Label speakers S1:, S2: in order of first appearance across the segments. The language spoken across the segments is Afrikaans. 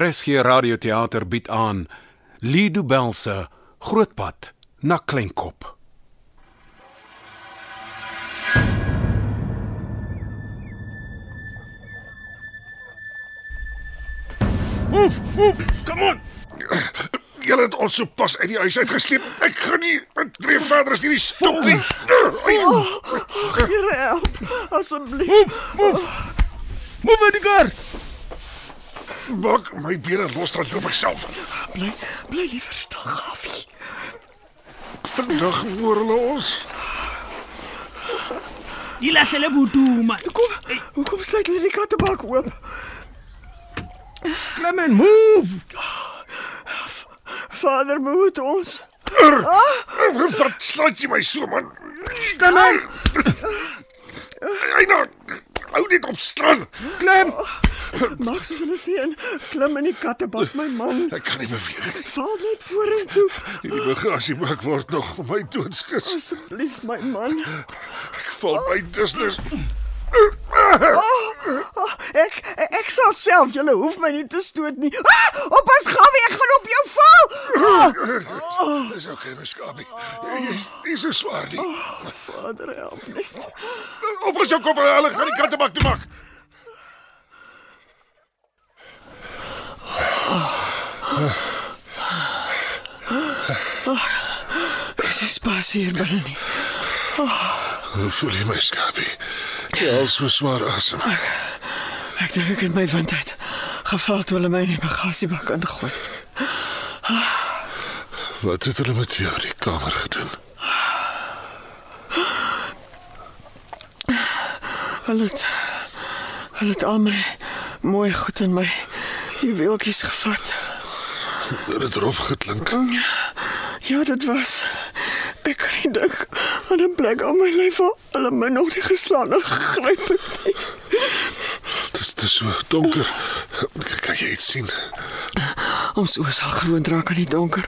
S1: RSG Radioteater bied aan Lido Belse Grootpad na Kleinkop.
S2: Oef, oef, kom aan.
S3: Julle het ons so pas uit die huis uitgesleep. Ek gaan nie tree verder as hierdie stomp nie. Ai,
S4: Here help asseblief.
S2: Oef, oef. Moef uit die kar.
S3: Maak my bene los dan loop ek self.
S4: Bly bly liever stil, Gawie.
S3: Vandag hoor hulle ons.
S5: Die laat hulle boet toe, man.
S4: Kom. Hoekom sluit hulle die kattebak oop?
S2: Klim en move.
S4: Vader moet ons.
S3: Wat slaat jy my so man?
S2: Klim en
S3: Eina, hou dit op staan.
S2: klim.
S4: Maak soos hulle sê en klim in die kattebak, my man.
S3: Ek kan nie beweeg nie.
S4: Val net vorentoe
S3: Hierdie bagasie maak word nog vir my doodskus.
S4: asseblief, my man.
S3: Ek val by dusnus.
S4: Oh, ek ek sal self, jy hoef my nie te stoot nie. Ah, oppas Gawie, ek gaan op jou val. Ah,
S3: Dis okay, my skapie. Jy's nie so swaar nie.
S4: Vader help net.
S3: Eh, Op ons jou kop, hulle gaan die kattebak toe maak.
S4: Dis is pas hier binne nie.
S3: Hoe Eh, voel jy my skapie? Jy al so swaar asem.
S4: Ek dink ek het my wind uit. Geval toe hulle my in die bagasiebak ingooi.
S3: Wat het hulle met jou in die kamer gedoen?
S4: Hulle het hulle het al my mooi goed in my juweeltjies gevat.
S3: Dit het rof geklink.
S4: Ja, dit was ek kan nie dink aan 'n plek op my lyf waar hulle my nog nie geslaan en gegryp het nie.
S3: Dit is dit is so donker. Kan jy iets sien?
S4: Ons oë sal gewoon draak aan die donker.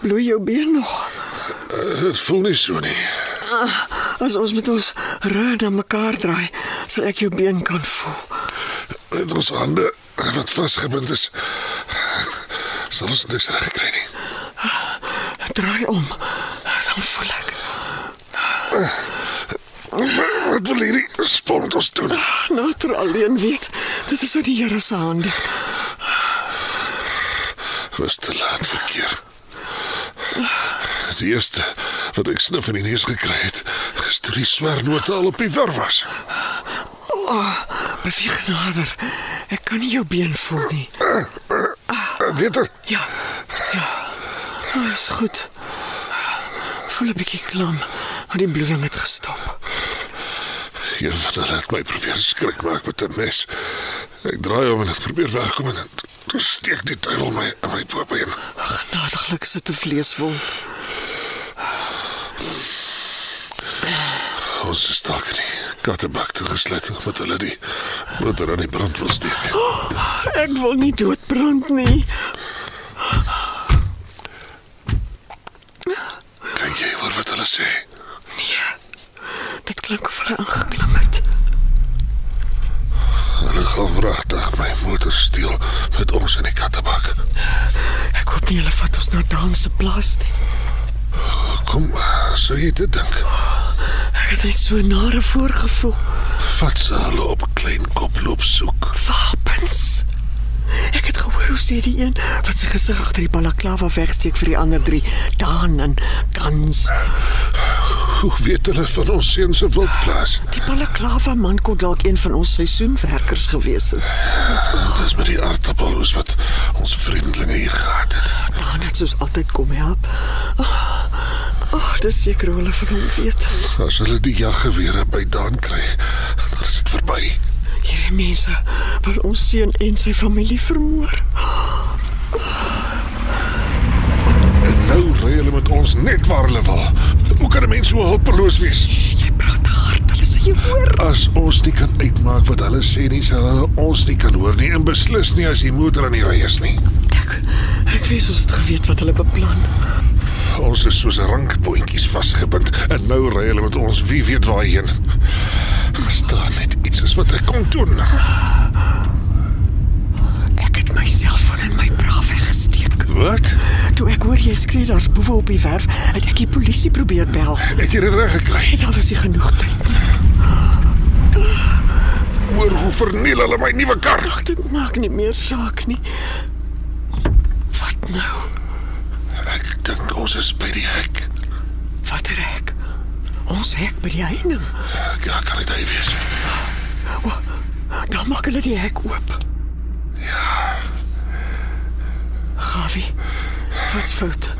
S4: Bloei jou been nog.
S3: Dit voel nie so nie.
S4: As ons met ons rug na mekaar draai, sal ek jou been kan voel.
S3: Dit ons hande wat vasgebind is. Sal ons niks reg kry nie.
S4: Draai om. Dan voel ek.
S3: Wat wil hierdie spond ons doen?
S4: Nader alleen weet, dit is uit die Here se hande.
S3: Was te laat verkeer. Die eerste wat ek snuf in die neus gekry het, is toe die swernote al op die ver was.
S4: Beweeg nader. Ek kan nie jou been voel nie.
S3: Beter,
S4: Ja. Ja. Oh, is goed. Voel 'n bietjie klam, maar die bloeding het gestop.
S3: een van hulle het my probeer skrik maak met 'n mes. Ek draai om en ek probeer wegkom en toe steek die duiwel my in my boopbeen.
S4: Genadiglik sit 'n vleeswond.
S3: Ons is dalk in die kattebak toe gesluit omdat hulle die motor aan die brand wil steek.
S4: Ek wil nie doodbrand nie.
S3: Kan jy hoor wat hulle sê?
S4: Dit klink of hulle ingeklim het.
S3: Hulle gaan vragtig my motor steel met ons in die kattebak.
S4: Ek hoop nie hulle vat ons na Dan se plaas nie.
S3: Kom, eh, sou jy dit dink?
S4: Ek het net so 'n nare voorgevoel.
S3: Vat ze hulle op klein koploop soek.
S4: Wapens. Ek het gehoor hoe sê die een wat sy gesig agter die balaklava wegsteek vir die ander drie, Dan en Dans.
S3: Hoe weet hulle van ons seuns se wildplaas?
S4: Die balaklava man kon dalk een van ons seisoenwerkers gewees het.
S3: Dis met die aardappelhoes wat ons vriendelinge hier gehad het.
S4: Dan het soos altyd kom help. Ag, oh, dis seker hoe hulle van hom weet.
S3: As hulle die jaggewere by Daan kry, dan is dit verby.
S4: Hierdie mense wil ons seun en sy familie vermoor.
S3: En nou ry hulle met ons net waar hulle wil. Hoe kan 'n mens so hulpeloos wees?
S4: Jy praat te hard, hulle sê jy hoor.
S3: As ons nie kan uitmaak wat hulle sê nie, sal hulle ons nie kan hoor nie en beslis nie as die motor aan die ry is nie.
S4: Ek ek wens ons het geweet wat hulle beplan.
S3: Ons is soos rankboontjies vasgebind en nou ry hulle met ons wie weet waarheen. Staan net iets is wat ek kon doen.
S4: Ek het my
S3: Wat?
S4: Toe ek hoor jy skree daar's boewe op die werf, het ek die polisie probeer bel.
S3: Het jy dit reg gekry?
S4: Net al was nie genoeg tyd nie.
S3: Hoor hoe verniel hulle my nuwe kar.
S4: Ag, dit maak nie meer saak nie. Wat nou?
S3: Ek dink ons is by die hek.
S4: Watter hek? Ons hek by die heining.
S3: Ek ja, kan dit hy wees.
S4: Dan maak hulle die hek oop. Ja. Gavi. Wat fout?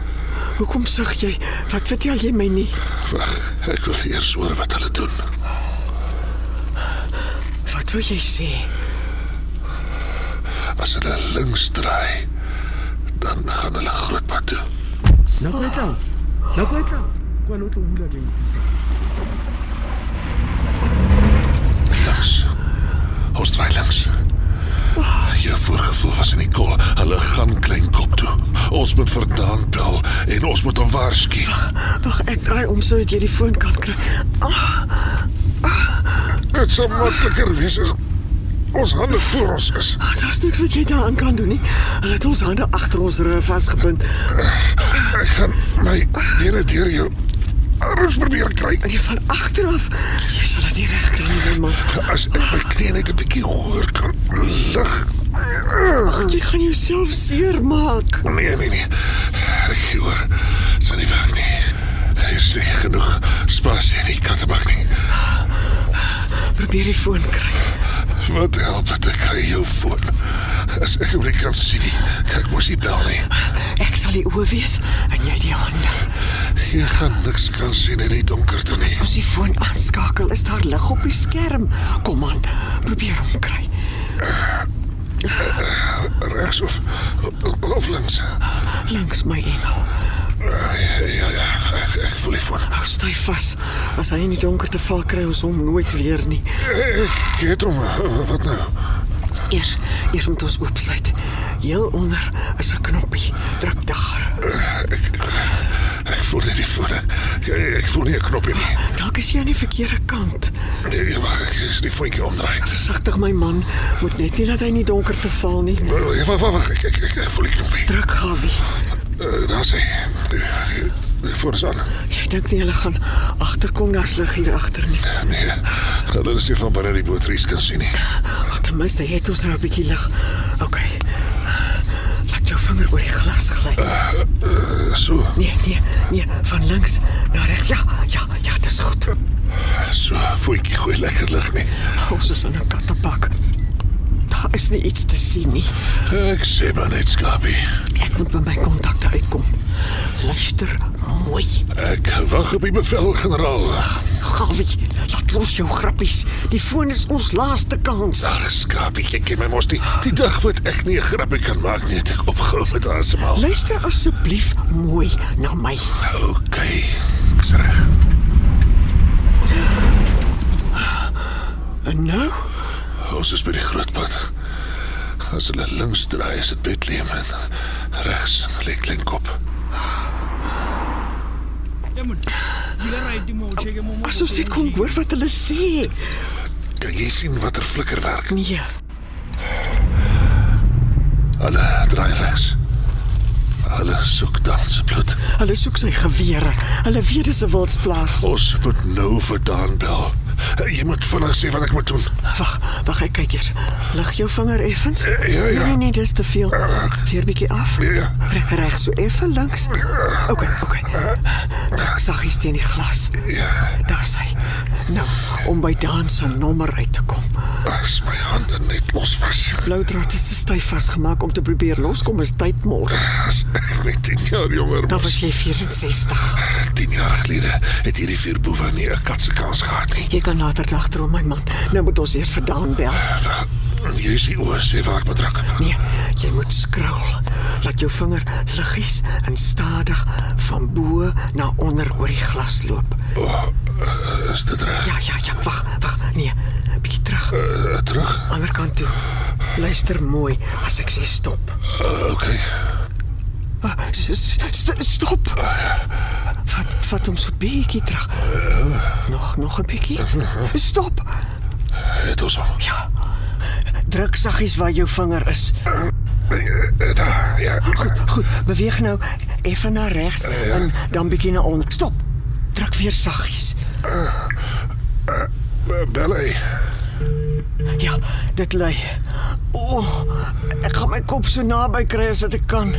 S4: Hoekom sug jy? Wat vertel jy my nie?
S3: Wag, ek wil eers hoor wat hulle doen.
S4: Wat wil jy sê?
S3: As hulle links draai, dan gaan hulle grootpad toe. Links. Ons draai links. Jou voorgevoel was in die kol. Hulle gaan klein kop toe. Ons moet verdaan bel en ons moet hom waarsku.
S4: Wag, ek draai om sodat jy die foon kan kry.
S3: Dit sal makliker wees as ons hande voor ons is.
S4: Ah, daar's niks wat jy daaraan kan doen nie. Hulle het ons hande agter ons rug vasgebind.
S3: Ek gaan my here deur jou arms probeer kry.
S4: En jy van agter af. Jy sal dit nie regkry nie, my man.
S3: As ek my knie net 'n bietjie hoër kan lig.
S4: Jy gaan jouself seermaak.
S3: Nee, nee, nee. Ek gee oor. Sy nie werk nie. Hier is nie genoeg spasie in die kattebak nie.
S4: Probeer die foon kry.
S3: Wat help dit ek kry jou voor? As ek hom nie kan sien nie, kyk mos nie bel nie.
S4: Ek sal die oë wees en jy die hande.
S3: Jy gaan niks kan sien in die donkerte nie.
S4: As die foon aanskakel, is daar lig op die skerm. Kom aan, probeer hom kry.
S3: Regs of of links.
S4: Langs my engel.
S3: Ja ja, ja ek, ek voel die voor.
S4: Hou styf vas. As hy in die donker te val kry ons hom nooit weer nie.
S3: Ek het hom. Wat nou?
S4: Eers, eers moet ons oopsluit. Heel onder is 'n knoppie. Druk daar.
S3: Ek ek voel dit die voor. Ek, ek voel nie 'n knopie nie.
S4: Dalk is jy aan die verkeerde kant.
S3: Nee, wag, ek is die voetjie omdraai.
S4: Versigtig my man, moet net nie dat hy in die donker te val nie.
S3: Wag, wag, wag. Ek, ek, ek, ek voel die knopie.
S4: Druk Gawie.
S3: Uh, Daar sê. eh, Voor is aan.
S4: Jy dink nie hulle gaan agterkom daar's lig hier agter nie.
S3: Nee. eh, Hulle is nie van binne die bootreis kan sien nie.
S4: Maar ten minste het ons nou 'n bietjie lig. OK. Laat jou vinger oor die glas gly.
S3: Uh, so.
S4: Nee, nee, nee, van links na regs. Ja, ja, ja, dis goed.
S3: So, voetjie gooi lekker lig nie.
S4: Ons is in 'n kattepak. Daar is nie iets te sien nie.
S3: Ek sê maar net skapie.
S4: Ek moet by my kontakte uitkom. Luister mooi.
S3: Ek wag op die bevel, generaal.
S4: Gawie, laat los jou grappies. Die foon is ons laaste kans.
S3: Ag, skapie, jy ken my mos nie. Die dag wat ek nie 'n grappie kan maak nie, het ek opgehou met asemhaal.
S4: Luister asseblief mooi na my.
S3: OK. Ek's reg.
S4: En nou,
S3: Ons is by die groot pad. As hulle links draai, is dit Bethlehem en regs lê Klinkop.
S4: asof jy kon hoor wat hulle sê.
S3: Kan jy sien watter flikkerwerk?
S4: Nee.
S3: Hulle draai regs. Hulle soek danse bloed.
S4: Hulle soek sy gewere. Hulle weet dis 'n wildsplaas.
S3: Ons moet nou vir Daan bel. Jy moet vinnig sê wat ek moet doen.
S4: Wag, wag, ek kyk eers. Lig jou vinger effens.
S3: Eh, ja, ja.
S4: Nee, nee, nee, dis te veel. Veer bietjie af.
S3: Ja, ja.
S4: Re reg so effe links. OK, OK. Druk saggies teen die glas.
S3: Ja,
S4: Daar sy. Nou, om by Daan se nommer uit te kom.
S3: as my hande net los was.
S4: Blou draad is te styf vasgemaak om te probeer loskom is tyd mors.
S3: As ek net 10 jaar jonger
S4: Dan was
S3: was.
S4: jy 64.
S3: 10 jaar gelede het hierdie vier boewe nie 'n kat se kans gehad nie.
S4: Jy kan later nagdroom, my man. Nou moet ons eers vir Daan bel.
S3: Wel, Jy sien oor sê waar ek betrek.
S4: Nee, jy moet skraal. Laat jou vinger liggies en stadig van bo na onder oor die glas loop.
S3: Oh, eh, is dit reg?
S4: Ja, ja, ja, wag, wag. Nee, bietjie terug,
S3: Eh, terug?
S4: ander kant toe. Luister mooi as ek sê stop.
S3: Eh, Oké.
S4: Ah, s- s- st- Stop. Vat vat hom so bietjie terug. Nog nog 'n bietjie. Stop.
S3: Het ons al.
S4: Ja. Druk saggies waar jou vinger is.
S3: Eh, eh, Daar, ja.
S4: Goed, goed. Beweeg nou even naar rechts en dan bietjie naar onder. Stop. Druk weer saggies.
S3: Eh, Ballet.
S4: Ja, dit lei. O, ek gaan my kop so naby kry as wat ek kan.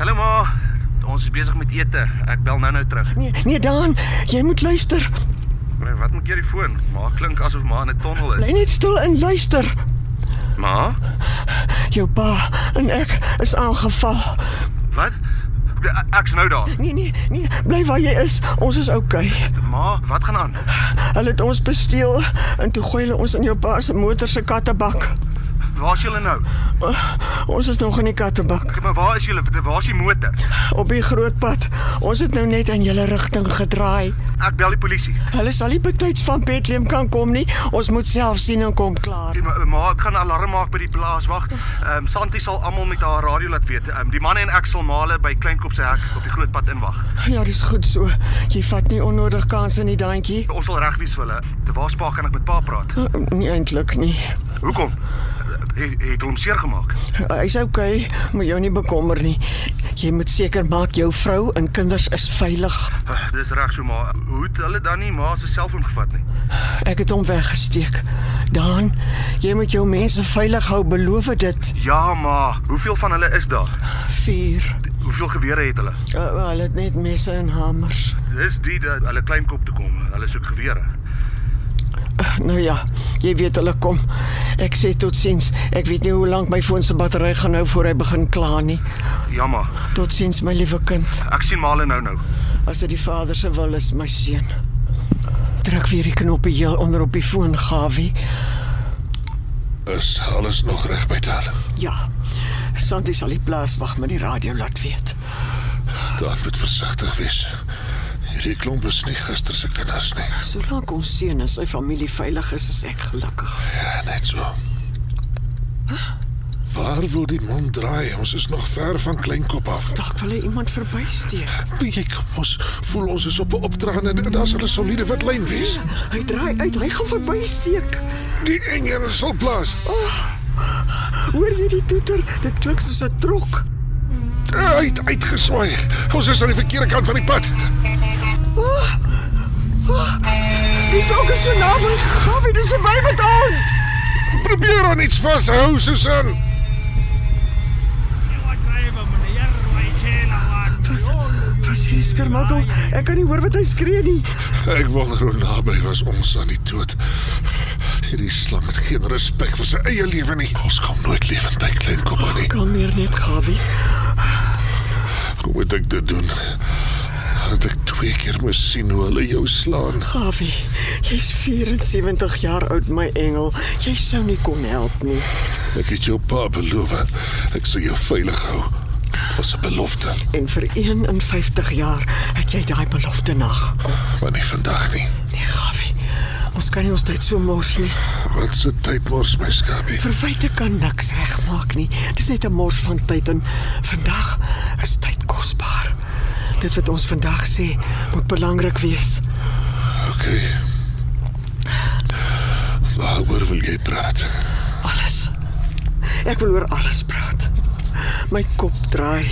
S6: Hallo ma. Ons is besig met ete. Ek bel nou-nou terug.
S4: Nee, nee Dan, jy moet luister.
S6: Nee, Wat maak jy die foon? Ma klink asof ma in 'n tonnel is.
S4: Bly net stil en luister.
S6: Ma?
S4: Jou pa en ek is aangeval.
S6: Wat? Ek's nou daar.
S4: Nee, nee, nee, bly waar jy is. Ons is oukei. Okay.
S6: Ma, wat gaan aan?
S4: Hulle het ons besteel en toe gooi hulle ons in jou pa se motor se kattebak. Oh,
S6: Waar's julle nou?
S4: Ons is nog in die kattebak
S6: Kyk maar, waar is julle? Waar's die motor?
S4: op die groot pad. Ons het nou net aan julle rigting gedraai.
S6: Ek bel die polisie.
S4: Hulle sal nie betyds van Bethlehem kan kom nie. Ons moet self sien en kom klaar.
S6: Kyk, Ma, ma, ek gaan 'n alarm maak by die plaas. Wag. Ehm um, Santi sal almal met haar radio laat weet. Ehm um, die manne en ek sal male by Kleinkop se hek op die groot pad inwag.
S4: Ja, dis goed so. Jy vat nie onnodig kansse nie, dankie.
S6: Ons sal regwees vir hulle. Te waar's pa kan ek met pa praat?
S4: Nie eintlik nie.
S6: Hoekom? Het, het hom seer gemaak.
S4: Hy's okay, moet jou nie bekommer nie. Jy moet seker maak jou vrou en kinders is veilig.
S6: Eh, Dis reg so maar hoe het hulle dan nie ma se selfoon gevat nie?
S4: Ek het hom weggesteek. Dan, jy moet jou mense veilig hou, beloof dit.
S6: Ja ma, hoeveel van hulle is daar?
S4: Vier.
S6: Hoeveel gewere het hulle?
S4: Uh, hulle het net messe en hamers.
S6: Dis die dat hulle kleinkop toe kom. Hulle soek gewere.
S4: Nou ja, jy weet hulle kom. Ek sê totsiens. Ek weet nie hoe lank my foon se battery gaan nou voor hy begin kla nie.
S6: Ja ma,
S4: Totsiens my liewe kind.
S6: ek sien maar hulle nou nou.
S4: As dit die Vader se wil is, my seun. Druk weer die knoppie heel onder op die foon, Gawie.
S3: Is alles Eh, nog reg by Daan?
S4: Ja. Santi sal die plaas wag met die radio laat weet.
S3: Daan moet versigtig wees. Hierdie klomp is nie gister se kinders nie.
S4: Solank ons seun en sy familie veilig is, is ek gelukkig.
S3: Ja, net so. Waar wil die man draai? Ons is nog ver van Kleinkop af.
S4: Dalk wil hy iemand verbysteek.
S3: Bietjie kom ons voel ons is op 'n opdrag en daar sal 'n soliede wit lyn wees.
S4: Hy draai uit, hy gaan verbysteek.
S3: Die engel sal blaas.
S4: Hoor jy die toeter? Dit klink soos 'n trok.
S3: Uit uitgeswaai. Ons is aan die verkeerde kant van die pad.
S4: Ah! Die trok is so naby. Gawie, dit is verby met ons.
S3: Probeer aan iets vashou, Susan.
S4: Was hierdie skermagel? Ek kan nie hoor wat hy skree nie.
S3: Ek wonder hoe naby was ons aan die dood. Hierdie slang het geen respek vir sy eie lewe nie. Ons kom nooit lewend by Kleinkop aan nie.
S4: Kalmeer net, Gawie.
S3: Hoe moet ek dit doen? Dat ek twee keer moes sien hoe hulle jou slaan.
S4: Gawie, jy's 74 jaar oud, my engel. Jy sou nie kon help nie.
S3: Ek het jou pa beloof ek sal jou veilig hou. Dit was 'n belofte,
S4: En vir 51 jaar het jy daai belofte nagekom.
S3: maar nie vandag nie.
S4: Nee, Gawie. Ons kan nie ons tyd so mors nie.
S3: Wat se tyd mors my skapie.
S4: Verwyte kan niks regmaak nie. Dis net 'n mors van tyd en vandag is tyd kosbaar. Dit wat ons vandag sê, moet belangrik wees.
S3: Okay. Waaroor wil jy praat?
S4: Alles. Ek wil oor alles praat. My kop draai.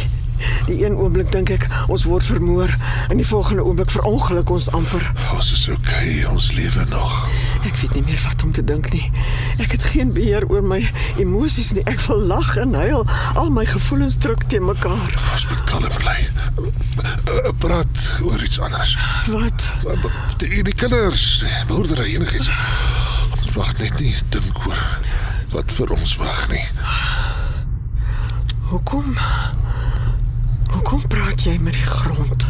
S4: Die een oomblik dink ek ons word vermoor en die volgende oomblik verongeluk ons amper.
S3: Ons is okay, ons lewe nog.
S4: Ek weet nie meer wat om te dink nie. Ek het geen beheer oor my emosies nie. Ek wil lag en huil. Al my gevoelens druk teen mekaar.
S3: Ons moet kalm bly. Eh, eh, Praat oor iets anders.
S4: Wat?
S3: Eh, eh, Die, die kinders, die boerdery enigiets. Wag net nie, dink oor wat vir ons wag nie.
S4: Hoekom? Hoekom praat jy met die grond?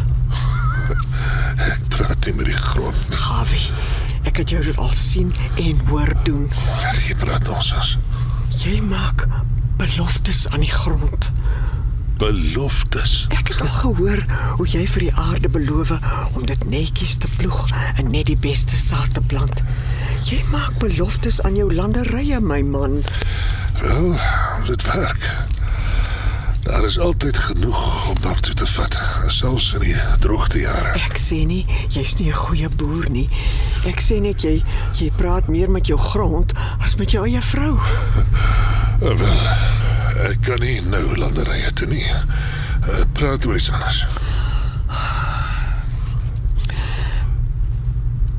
S3: Ek praat nie met die grond nie.
S4: Gawie, ek het jou dit al sien en hoor doen.
S3: Jy praat ons as
S4: Jy maak beloftes aan die grond.
S3: beloftes.
S4: Ek het al gehoor hoe jy vir die aarde beloof om dit netjies te ploeg en net die beste saad te plant. Jy maak beloftes aan jou landerye, my man.
S3: Wel, dit werk. Daar is altyd genoeg om daar toe te vat, selfs in die droogte jare.
S4: Ek sê nie jy's nie 'n goeie boer nie. Ek sê net jy jy praat meer met jou grond as met jou eie vrou.
S3: Wel, ek kan nie nou landerye toe nie. Uh, praat oor iets anders.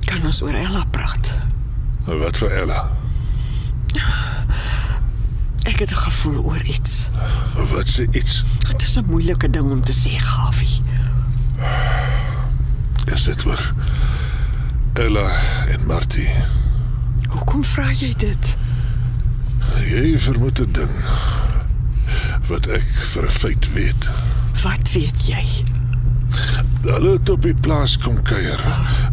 S4: Kan ons oor Ella praat?
S3: Wat vir Ella?
S4: Ek het 'n gevoel oor iets.
S3: Wat sê iets?
S4: Dit is 'n moeilike ding om te sê, Gawie.
S3: Is dit oor Ella en Martie?
S4: Hoekom vra jy dit?
S3: Jy vermoed 'n ding wat ek vir 'n feit weet.
S4: Wat weet jy?
S3: Hulle het op die plaas kom kuier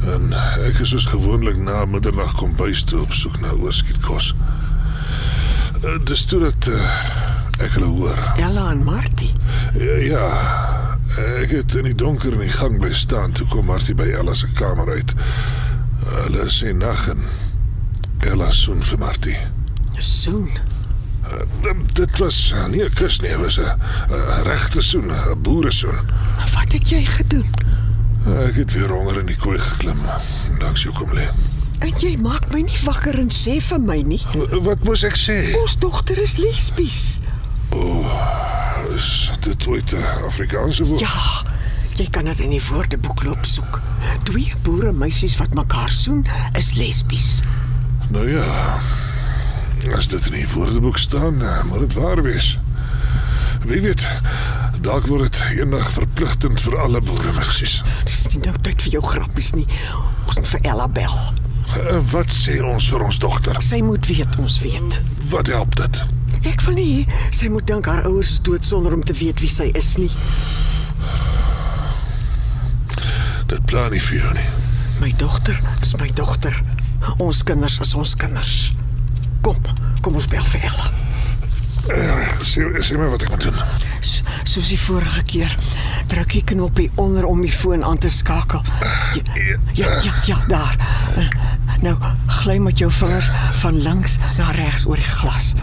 S3: en ek is soos gewoonlik na middernag kom bys toe op soek na oorskietkos. Eh, Dis toe dat eh, ek hulle hoor.
S4: Ella en Martie.
S3: Ja, ja, ek het in die donker in die gang bly staan toe kom Martie by Ella se kamer uit. Hulle sê nag en Ella soen vir Martie.
S4: Soon.
S3: Eh, dit- Dit was eh, nie 'n kus nie, dit was 'n 'n regte soen, 'n boere soen.
S4: Wat het jy gedoen?
S3: Eh, Ek het weer honger in die kooi geklim. Dankie hoekom lê.
S4: En jy maak my nie wakker en sê vir my nie.
S3: W- Wat moes ek sê?
S4: Ons dogter is lesbies.
S3: Is dit ooit 'n Afrikaanse woord?
S4: Ja, jy kan dit in die woordeboek loop soek. Twee boere meisies wat mekaar soen is lesbies.
S3: Nou ja. As dit in die woordeboek staan, eh, moet dit waar wees. Wie weet, dalk word dit eendag verpligtend vir alle boere meisies.
S4: Dis nie nou tyd vir jou grappies nie. Ons moet vir Ella bel.
S3: Eh, Wat sê ons vir ons dogter?
S4: Sy moet weet ons weet.
S3: Wat help dit?
S4: Ek wil nie hê sy moet dink haar ouers is dood sonder om te weet wie sy is nie.
S3: Dit plan nie vir jou nie.
S4: My dogter is my dogter. Ons kinders is ons kinders. Kom, kom ons bel vir Ella.
S3: Eh, Sê sê my wat ek moet doen.
S4: So, soos die vorige keer, druk die knoppie onder om die foon aan te skakel. Ja, ja, ja, ja daar. Nou, gly met jou vingers van links na regs oor die glas.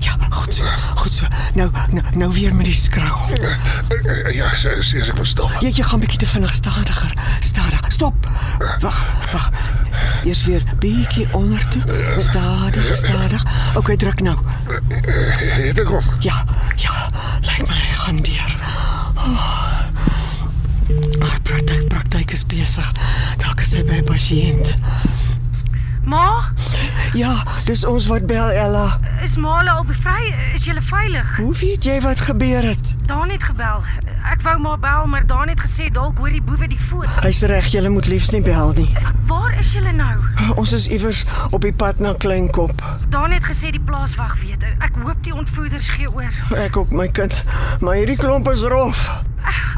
S4: Ja, goed so. Goed so. Nou nou, nou weer met die skraal.
S3: Eh, eh, eh, Ja, sê sê ek moet stop.
S4: Jy jy gaan bietjie te vinnig stadiger. Stadig. Stop. Wag, wag. Eers weer bietjie onder toe. Stadig, stadig. OK, druk nou.
S3: Het ek hom?
S4: Ja, ja, lyk my hy gaan deur. Oh. Haar praktyk, praktyk is besig. Dalk is sy by 'n pasiënt.
S7: Ma,
S4: Ja, dis ons wat bel Ella.
S7: is Male al bevry? Is jy veilig?
S4: Hoe weet jy wat gebeur het?
S7: Daan het gebel. Ek wou maar bel, maar Daan het gesê dalk hoor die boewe die foon.
S4: Hy's reg, jy moet liefs nie bel nie.
S7: Waar is julle nou?
S4: Ons is iewers op die pad na Kleinkop.
S7: Daan het gesê die plaaswag weet. Ek hoop die ontvoerders gee oor.
S4: Ek ook my kind, maar hierdie klomp is rof.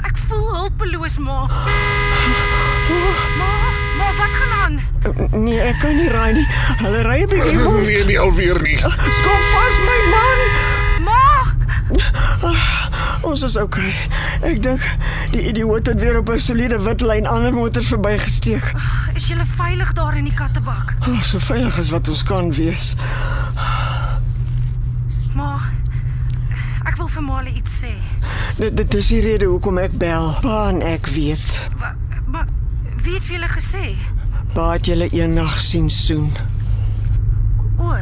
S7: Ek voel hulpeloos, ma. Ma, ma, wat gaan aan?
S4: Nee, ek kan nie ry nie. Hulle ry 'n bietjie
S3: Nee,
S4: rond.
S3: nie alweer nie.
S4: Skop vas my man.
S7: Ma,
S4: Ons is oukei. Okay. Ek dink die idioot het weer op 'n soliede wit lyn ander motors verbygesteek.
S7: is julle veilig daar in die kattebak?
S4: Oh, so veilig as wat ons kan wees.
S7: Ma, ek wil vir Male iets sê.
S4: Dit dit is die rede hoekom ek bel. Baan ek weet.
S7: Wa- Maar wie het vir julle gesê?
S4: Baat julle eendag sien soen.
S7: O.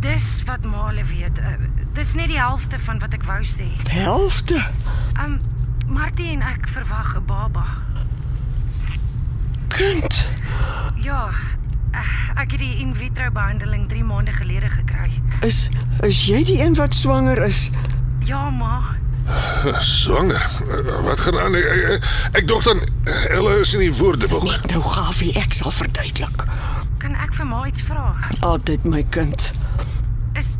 S7: Dis wat Male weet. Eh, Dis net die helfte van wat ek wou sê.
S4: Helfte.
S7: Um Martie en ek verwag 'n baba.
S4: Kind.
S7: Ja, eh, ek het die in vitro behandeling 3 maande gelede gekry.
S4: Is is jy die een wat swanger is?
S7: Ja, ma.
S3: Swanger. Eh, Wat gaan aan? Ek, ek, ek dog dan eh, Ella is in die woordeboek.
S4: Nou Gawie, ek sal verduidelik.
S7: Kan ek vir ma iets vra?
S4: Altyd my kind.
S7: Is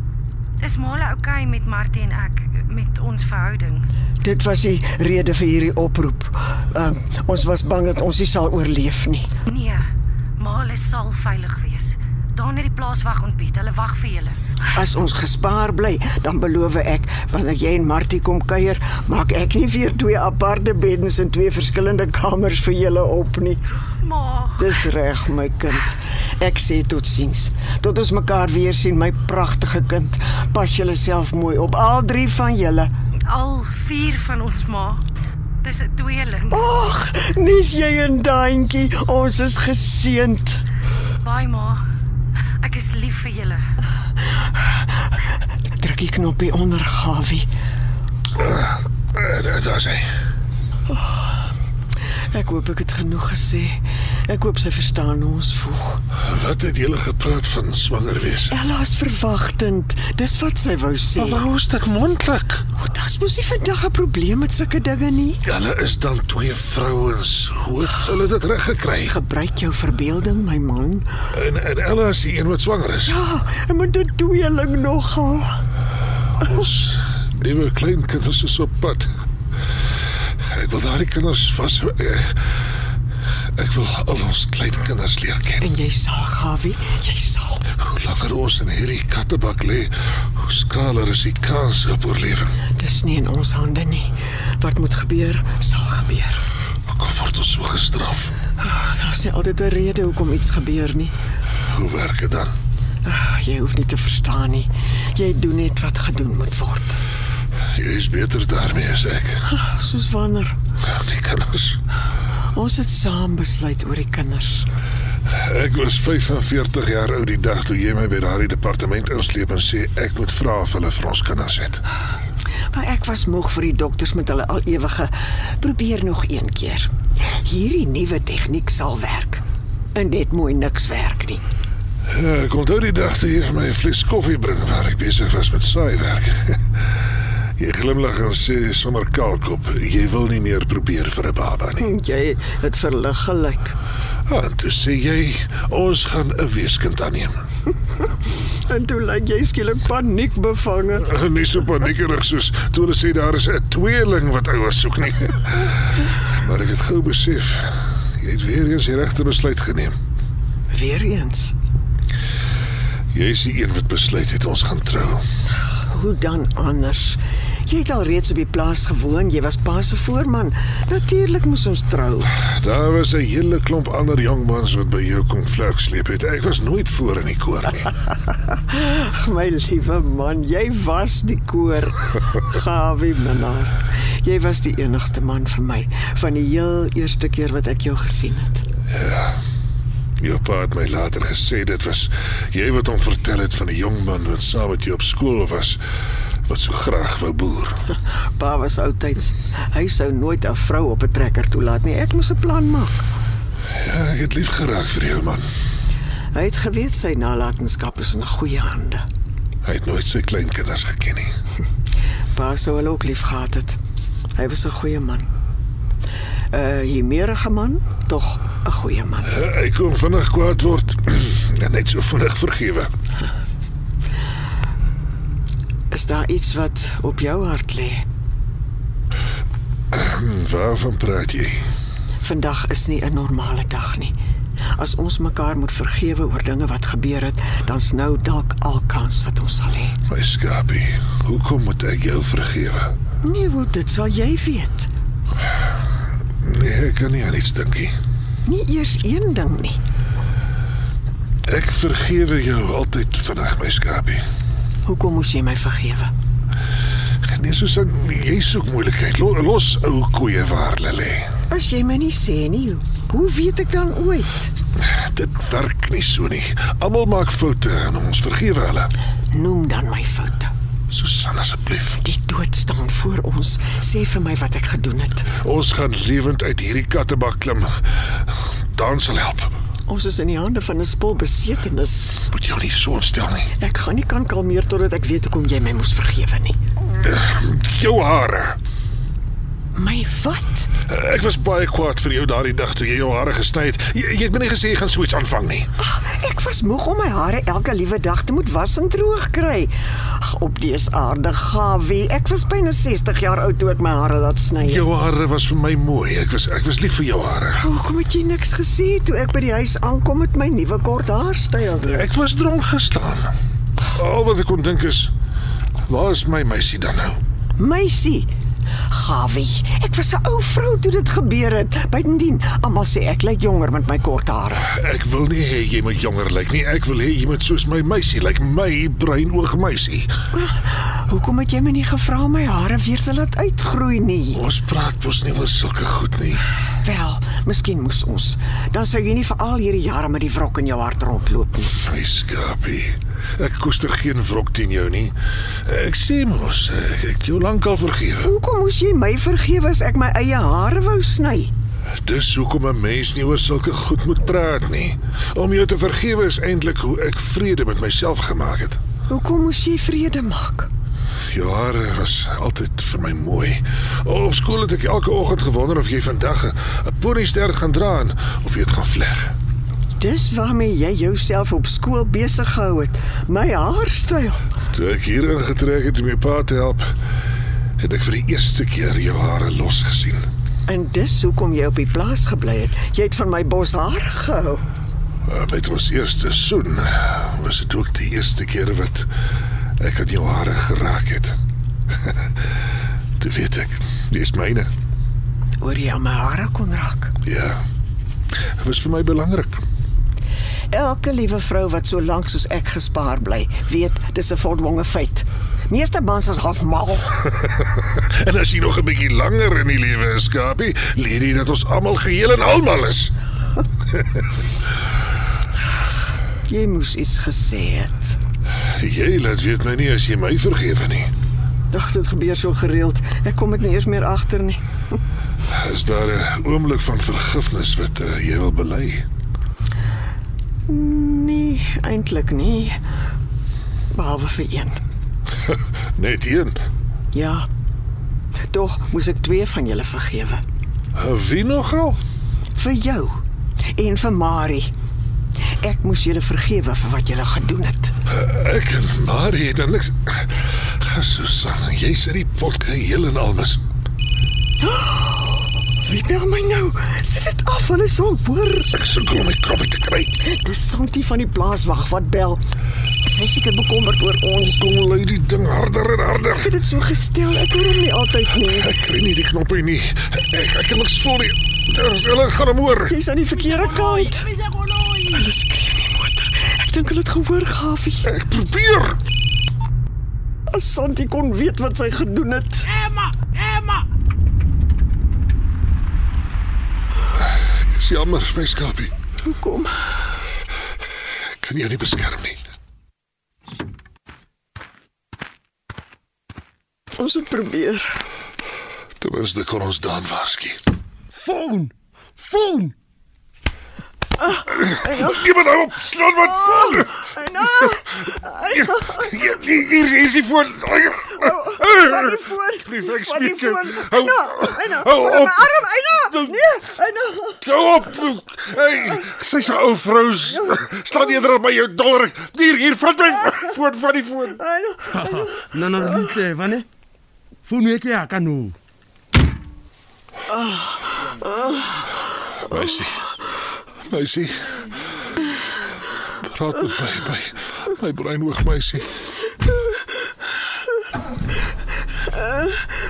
S7: is Male oukei okay met Martie en ek met ons verhouding?
S4: Dit was die rede vir hierdie oproep. Um, ons was bang dat ons nie sal oorleef nie.
S7: Nee. Male sal veilig wees. Daar net die plaaswag ontbied. Hulle wag vir julle.
S4: As ons gespaar bly, dan beloof ek, wanneer jy en Martie kom kuier, maak ek nie weer twee aparte beddens in twee verskillende kamers vir julle op nie.
S7: Ma,
S4: Dis reg, my kind. Ek sê totsiens. Tot ons mekaar weer sien, my pragtige kind. Pas julleself mooi op, al drie van julle.
S7: al vier van ons ma. Dis 'n tweeling.
S4: Ag, nes jy en Daantjie, ons is geseënd.
S7: Bye ma. Ek is lief vir julle.
S4: Druk die knoppie onder Gawie.
S3: Eh, Daar is hy.
S4: Ek hoop ek het genoeg gesê. Ek hoop sy verstaan hoe ons voel.
S3: Wat het julle gepraat van swanger wees?
S4: Ella is verwagtend. Dis wat sy wou sê.
S3: Hoe is dit moontlik?
S4: Daar's mos nie vandag 'n probleem met sulke dinge nie.
S3: Hulle is dan twee vrouens. Hoe het hulle dit reg gekry?
S4: Gebruik jou verbeelding, my man.
S3: En en Ella is die een wat swanger is.
S4: Ja, en met 'n tweeling nogal.
S3: Ons nuwe kleinkinders is op pad. Ek wil daardie kinders vas eh, Ek wil al ons kleinkinders leer ken.
S4: En jy sal, Gawie, jy sal.
S3: Hoe langer ons in hierdie kattebak lê, hoe skraler is die kans op oorlewing.
S4: Dis nie in ons hande nie. Wat moet gebeur, sal gebeur.
S3: Kom word ons so gestraf.
S4: Daar's nie altyd 'n rede hoekom iets gebeur nie.
S3: Hoe werk dit dan?
S4: Ag, jy hoef nie te verstaan nie. Jy doen net wat gedoen moet word.
S3: Jy is beter daarmee as ek.
S4: Soos wanneer
S3: Die kinders.
S4: ons het saam besluit oor die kinders.
S3: Ek was 45 jaar oud die dag toe jy my by daardie departement insleep en sê ek moet vra of hulle vir ons kinders het.
S4: Maar ek was moeg vir die dokters met hulle al ewige probeer nog een keer. Hierdie nuwe tegniek sal werk. En dit moet niks werk nie.
S3: Ja, ek onthou die dag toe jy vir my 'n fles koffie bring waar ek besig was met saaiwerk. jy glimlag en sê sommer kalkop, jy wil nie meer probeer vir 'n baba nie.
S4: En jy het verlig gelyk.
S3: Ah, en toe sê jy, ons gaan 'n weeskind aanneem.
S4: En toe lyk jy skielik paniek bevange.
S3: Eh, nie so paniekerig soos toe hulle sê daar is 'n tweeling wat ouers soek nie. maar ek het gou besef, jy het weer eens die regte besluit geneem.
S4: Weereens,
S3: Jy is die een wat besluit het ons gaan trou.
S4: hoe dan anders? Jy het al reeds op die plaas gewoon, jy was pa se voorman. Natuurlik moes ons trou.
S3: Daar was 'n hele klomp ander jong mans wat by jou kom vlerk sleep het. Ek was nooit voor in die koor nie.
S4: Ag my liewe man, jy was die koor Gawie Minnar. Jy was die enigste man vir my van die heel eerste keer wat ek jou gesien het.
S3: Jou pa het my later gesê dit was jy wat hom vertel het van die jong man wat saam met jou op skool was wat so graag wou boer.
S4: Pa was oudtyds. Hy sou nooit 'n vrou op 'n trekker toelaat nie. Ek moes 'n plan maak.
S3: Ja, ek het lief geraak vir jou man.
S4: Hy het geweet sy nalatenskap is in goeie hande.
S3: Hy het nooit sy kleinkinders geken nie.
S4: Pa sou hulle ook lief gehad het. Hy was 'n goeie man. 'n Hiermerige man, tog 'n goeie man.
S3: Ja, Hy kon vinnig kwaad word en net so vinnig vergewe.
S4: Is daar iets wat op jou hart lê?
S3: Hm, Waarvan praat jy?
S4: Vandag is nie 'n normale dag nie. As ons mekaar moet vergewe oor dinge wat gebeur het, dan's nou dalk al kans wat ons sal hê.
S3: My skapie, hoekom moet ek jou vergewe?
S4: Nee, wel dit sal jy weet.
S3: Nee, ek kan nie aan iets dink nie.
S4: Nie eers een ding nie.
S3: Ek vergewe jou altyd vinnig, my skapie.
S4: Hoekom moes jy my vergewe?
S3: Nee, soos ek, jy soek moeilikheid. Lo- Los ou koeie waar hulle lê.
S4: As jy my nie sê nie, hoe weet ek dan ooit?
S3: Dit werk nie so nie. Almal maak foute en ons vergewe hulle.
S4: Noem dan my foute.
S3: Susan asseblief.
S4: Die dood staan voor ons. Sê vir my wat ek gedoen het.
S3: Ons gaan lewend uit hierdie kattebak klim. Dan sal help.
S4: Ons is in die hande van 'n spul besetenis.
S3: Moet jou nie so ontstel nie.
S4: Ek gaan nie kan kalmeer totdat ek weet hoekom jy my moes vergewe nie.
S3: Jou hare.
S4: My wat?
S3: Ek was baie kwaad vir jou daardie dag toe jy jou hare gesny het. Jy, jy het my nie gesê jy gaan so iets aanvang nie.
S4: Ag, ek was moeg om my hare elke liewe dag te moet was en droog kry. Ag, op dese aarde gawe. Ek was byna 60 jaar oud toe ek my hare laat sny het.
S3: Jou hare was vir my mooi. Ek was ek was lief vir jou hare.
S4: Hoekom het jy niks gesê toe ek by die huis aankom met my nuwe kort haarstyl?
S3: Ek was dronk gestaan. Al wat ek kon dink is, waar is my meisie dan nou?
S4: Meisie. Gawie, ek was 'n ou vrou toe dit gebeur het. Bytendien, almal sê ek lyk jonger met my kort hare.
S3: Ek wil nie hê jy moet jonger lyk nie. Ek wil hê jy moet soos my meisie lyk, my bruinoog meisie.
S4: Hoekom het jy my nie gevra om my hare weer te laat uitgroei nie?
S3: Ons praat mos nie oor sulke goed nie.
S4: Wel, miskien moes ons. Dan sou jy nie vir al hierdie jare met die wrok in jou hart rondloop nie.
S3: My skapie. Ek koester geen wrok teen jou nie. Ek sê mos, ek het jou lankal vergewe.
S4: Hoekom moes jy my vergewe as ek my eie hare wou sny?
S3: Dis hoekom 'n mens nie oor sulke goed moet praat nie. Om jou te vergewe is eintlik hoe ek vrede met myself gemaak het.
S4: Hoekom moes jy vrede maak?
S3: Jou hare was altyd vir my mooi. Op skool het ek elke oggend gewonder of jy vandag 'n- 'n ponyster gaan dra en of jy dit gaan vleg.
S4: Dis waarmee jy jouself op skool besig gehou het. My haarstyl.
S3: Toe ek hier ingetrek het om my pa te help, het ek vir die eerste keer jou hare los gesien.
S4: En dis hoekom jy op die plaas gebly het. Jy het van my bos haar gehou.
S3: Uh, Met ons eerste soen eh, was dit ook die eerste keer wat ek aan jou hare geraak het. Toe weet ek, dis myne.
S4: Oor jy aan my hare kon raak.
S3: Ja. Dit was vir my belangrik.
S4: Elke liewe vrou wat so lank soos ek gespaar bly, weet dis 'n voldwonge feit. Meeste mans is half mal.
S3: En as jy nog 'n bietjie langer in die lewe is, Skapie, leer jy dat ons almal geheel en almal is.
S4: Jy moes iets gesê het.
S3: Jy laat weet my nie as jy my vergewe nie.
S4: Dag, dit gebeur so gereeld. Ek kom dit nie eers meer agter nie.
S3: Is daar 'n oomblik van vergifnis wat uh, jy wil bely?
S4: Nee, eintlik nie. Behalwe vir een.
S3: Net een.
S4: Ja. Tog moes ek twee van julle vergewe.
S3: Wie nogal?
S4: Vir jou en vir Marie. Ek moes julle vergewe vir wat julle gedoen het.
S3: Ek en Marie het dan niks. Susan, jy sit die pot geheel en al mis.
S4: Wie bel my nou? Sit dit af, hulle sal hoor.
S3: Ek sukkel om my kroppie te kry.
S4: Dis Santi van die plaaswag wat bel. Sy is seker bekommerd oor ons.
S3: Kom lei die ding harder en harder.
S4: Ek het dit so gestel, ek hoor hom nie altyd nie.
S3: Ek kry nie die knoppie nie. Ek ek kan niks voel nie. Dis- Hulle gaan hom hoor.
S4: Jy's aan die verkeerde kant.
S5: Mis 'n golooi.
S4: Hulle skree in die motor. Ek dink hulle het gehoor, Gafie.
S3: Ek probeer.
S4: As Santi kon weet wat sy gedoen het.
S5: Emma, Emma.
S3: Ek is jammer, my skapie.
S4: Hoekom?
S3: Ek kan jou nie beskerm nie.
S4: Ons het probeer.
S3: Ten minste kon ons dan waarsku.
S2: Foon. Foon.
S3: Iemand hou nou op, slaan wat vol.
S4: Nou,
S3: Hier hier hier is die voor.
S4: Oh, van die voor.
S3: Prefect
S4: Van die
S3: speaker.
S4: voor.
S3: Hou-
S4: Nou, Eina.
S3: hou
S4: van
S3: op.
S4: My arm, Eina.
S3: Dan-
S4: Nee, Eina.
S3: Hou op. Hey, sy's 'n ou vrou. Staan eerder op by jou dollar. Hier, hier, vat my voor van die voor.
S4: Eina.
S2: Na na lihle vane. Foon yake ya kanu.
S3: Meisie. Meisie. Praat met my, my, my brein hoog meisie.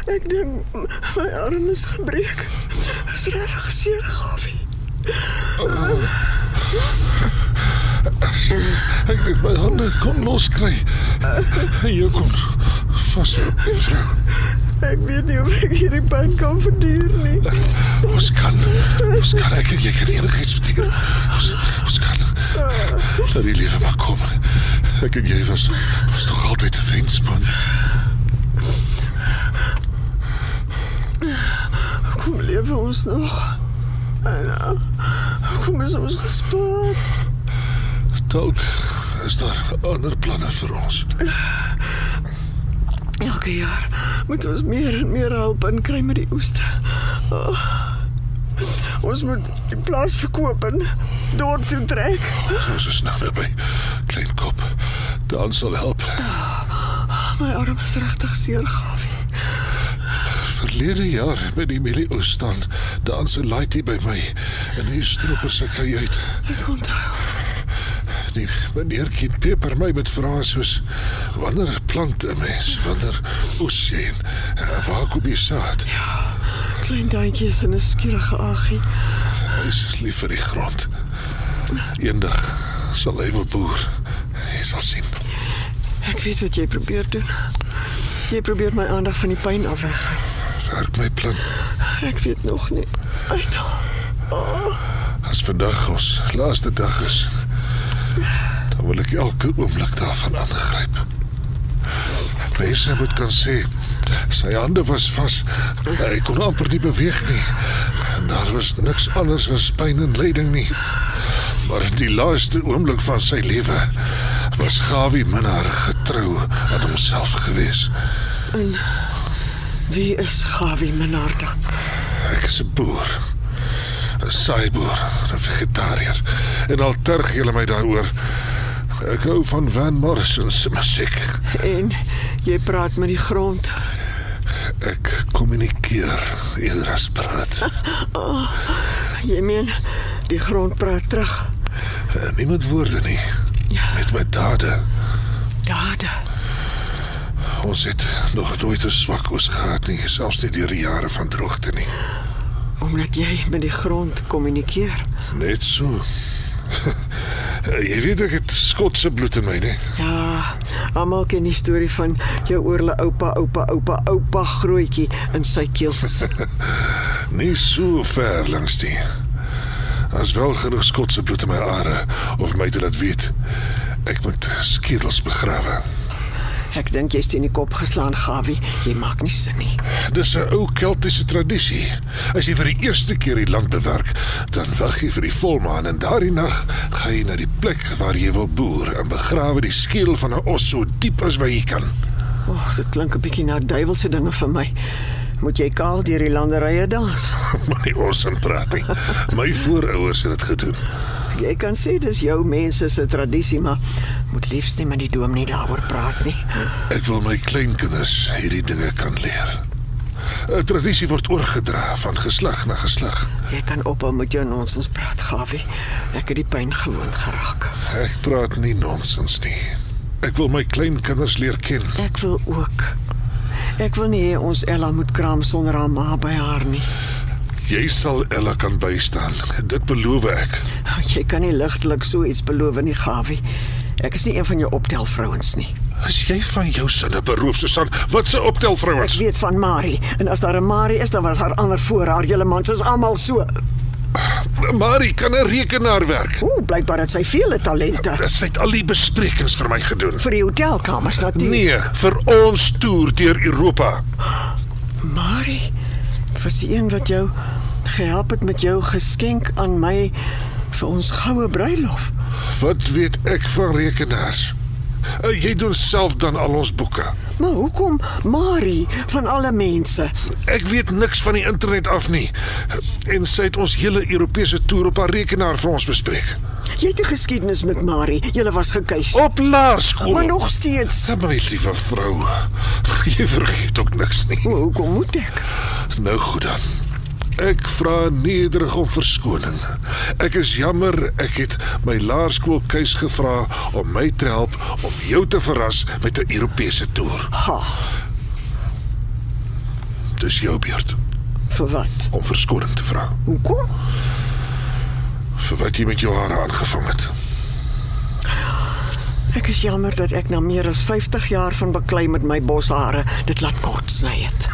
S4: Ek dink my arm is gebreek. Is regtig seer, Gafie.
S3: Ek het my hande kon loskry. Hey, jy kom vas op die vrou.
S4: Ek weet nie of ek hierdie pyn kan verduur nie.
S3: Ons kan, ons kan ek en jy kan enigiets verdier. Ons, ons kan. Dat die lewe maar kom. Ek en jy was, was nog altyd 'n vriendspan.
S4: Kom lewe ons nog. Eina. Kom is ons gespaar.
S3: Dalk is daar ander planne vir ons.
S4: Elke jaar moet ons meer en meer help en kry met die oeste. Oh. Ons moet die plaas verkoop en dorp toe trek.
S3: Ons is nou weer by Kleinkop. Dan sal er help.
S4: My arm is regtig seer, Gafie.
S3: Verlede jaar by die Millie Oostan, dan se laaitie by my in die stroper se kajuit.
S4: Ek onthou.
S3: Die meneertjie peper my met vrae soos wanneer plant 'n mens, wanneer oes jy en eh, waar koop jy saad?
S4: Klein duintjies en 'n skierige aggie.
S3: Hy is lief vir die grond. Eendag sal hy wil boer. Jy sal sien.
S4: Ek weet wat jy probeer doen. Jy probeer my aandag van die pyn afweg.
S3: Werk my plan.
S4: Ek weet nog nie. Eina.
S3: As vandag ons laaste dag is, dan dan wil ek elke oomblik daarvan aangryp. Mense moet kan sê sy hande was vas. Hy kon amper nie beweeg nie. En daar was niks anders as pyn en lyding nie. Maar in die laaste oomblik van sy lewe was Gawie minnaar getrou aan homself gewees.
S4: En wie is Gawie Menarda?
S3: Ek is 'n boer. 'n Saaiboer, 'n vegetariër. En al terg julle my daaroor. Ek hou van Van Morrison se musiek.
S4: En jy praat met die grond.
S3: Ek kommunikeer eerder as praat.
S4: Jy meen die grond praat terug.
S3: En nie met Eh, woorde nie, met my dade.
S4: Dade.
S3: Ons het nog nooit 'n swak oes gehad nie, selfs nie deur die jare van droogte nie.
S4: Omdat jy met die grond kommunikeer.
S3: Net so. Eh, Jy weet ek het Skotse bloed in my, né?
S4: Ja, almal ken die storie van jou oorle oupa, oupa, oupa, oupa grootjie in sy keels.
S3: Nie so ver langs die. As wel genoeg Skotse bloed in my are of my te laat weet ek moet skierels begrawe.
S4: Ek dink jy's teen die kop geslaan, Gawie. Jy maak nie sin nie.
S3: Dis 'n ou Keltiese tradisie. As jy vir die eerste keer die land bewerk, dan wag jy vir die volmaan en daardie nag gaan jy na die plek waar jy wil boer en begrawe die skeel van 'n os so diep as wat jy kan.
S4: Oeg, dit klink 'n bietjie na duiwelse dinge vir my. Moet jy kaal deur die landerye dans?
S3: Maar nie ons in praat nie. My voorouers het dit gedoen.
S4: Jy kan sê dis jou mense se tradisie, maar moet liefs nie met die dominee daaroor praat nie.
S3: Ek wil my kleinkinders hierdie dinge kan leer. 'n Tradisie word oorgedra van geslag na geslag.
S4: Jy kan ophou met jou nonsens praat, Gawie. Ek het die pyn gewoond geraak.
S3: Ek praat nie nonsens nie. Ek wil my kleinkinders leer ken.
S4: Ek wil ook. Ek wil nie hê ons Ella moet kraam sonder haar ma by haar nie.
S3: Jy sal Ella kan bystaan. Dit beloof ek.
S4: Jy kan nie ligtelik so iets beloof nie, Gawie. Ek is nie een van jou optelvrouens nie.
S3: As jy van jou sinne beroof, Susan, wat se
S4: Ek
S3: optelvrouens?
S4: weet van Marie en as daar 'n Marie is, dan was haar ander voor haar hele man soos almal so.
S3: Marie kan 'n rekenaar werk.
S4: Ooh, blykbaar het sy vele talente
S3: Sy het al die besprekings vir my gedoen.
S4: vir die hotelkamers natuurlik.
S3: Nee, vir ons toer deur Europa.
S4: Marie, was die een wat jou gehelp het met jou geskenk aan my vir ons goue bruilof.
S3: Wat weet ek van rekenaars? Eh, Jy doen self dan al ons boeke.
S4: Maar hoekom Marie van alle mense?
S3: Ek weet niks van die internet af nie. En sy het ons hele Europese toer op haar rekenaar vir ons bespreek.
S4: Jy het 'n geskiedenis met Marie. Julle was gekeus.
S3: Op laerskool.
S4: maar nog steeds.
S3: Ja, My liewe vrou, jy vergeet ook niks nie.
S4: Maar Hoekom moet ek?
S3: Nou goed dan. Ek vra nederig om verskoning. Ek is jammer ek het my laerskoolkeus gevra om my te help om jou te verras met 'n Europese toer.
S4: Ha,
S3: Dis jou beurt
S4: vir wat?
S3: om verskoning te vra
S4: Hoekom?
S3: vir wat jy met jou hare aangevang het.
S4: Ek is jammer dat ek na meer as 50 jaar van beklei met my boshare dit laat kort sny het.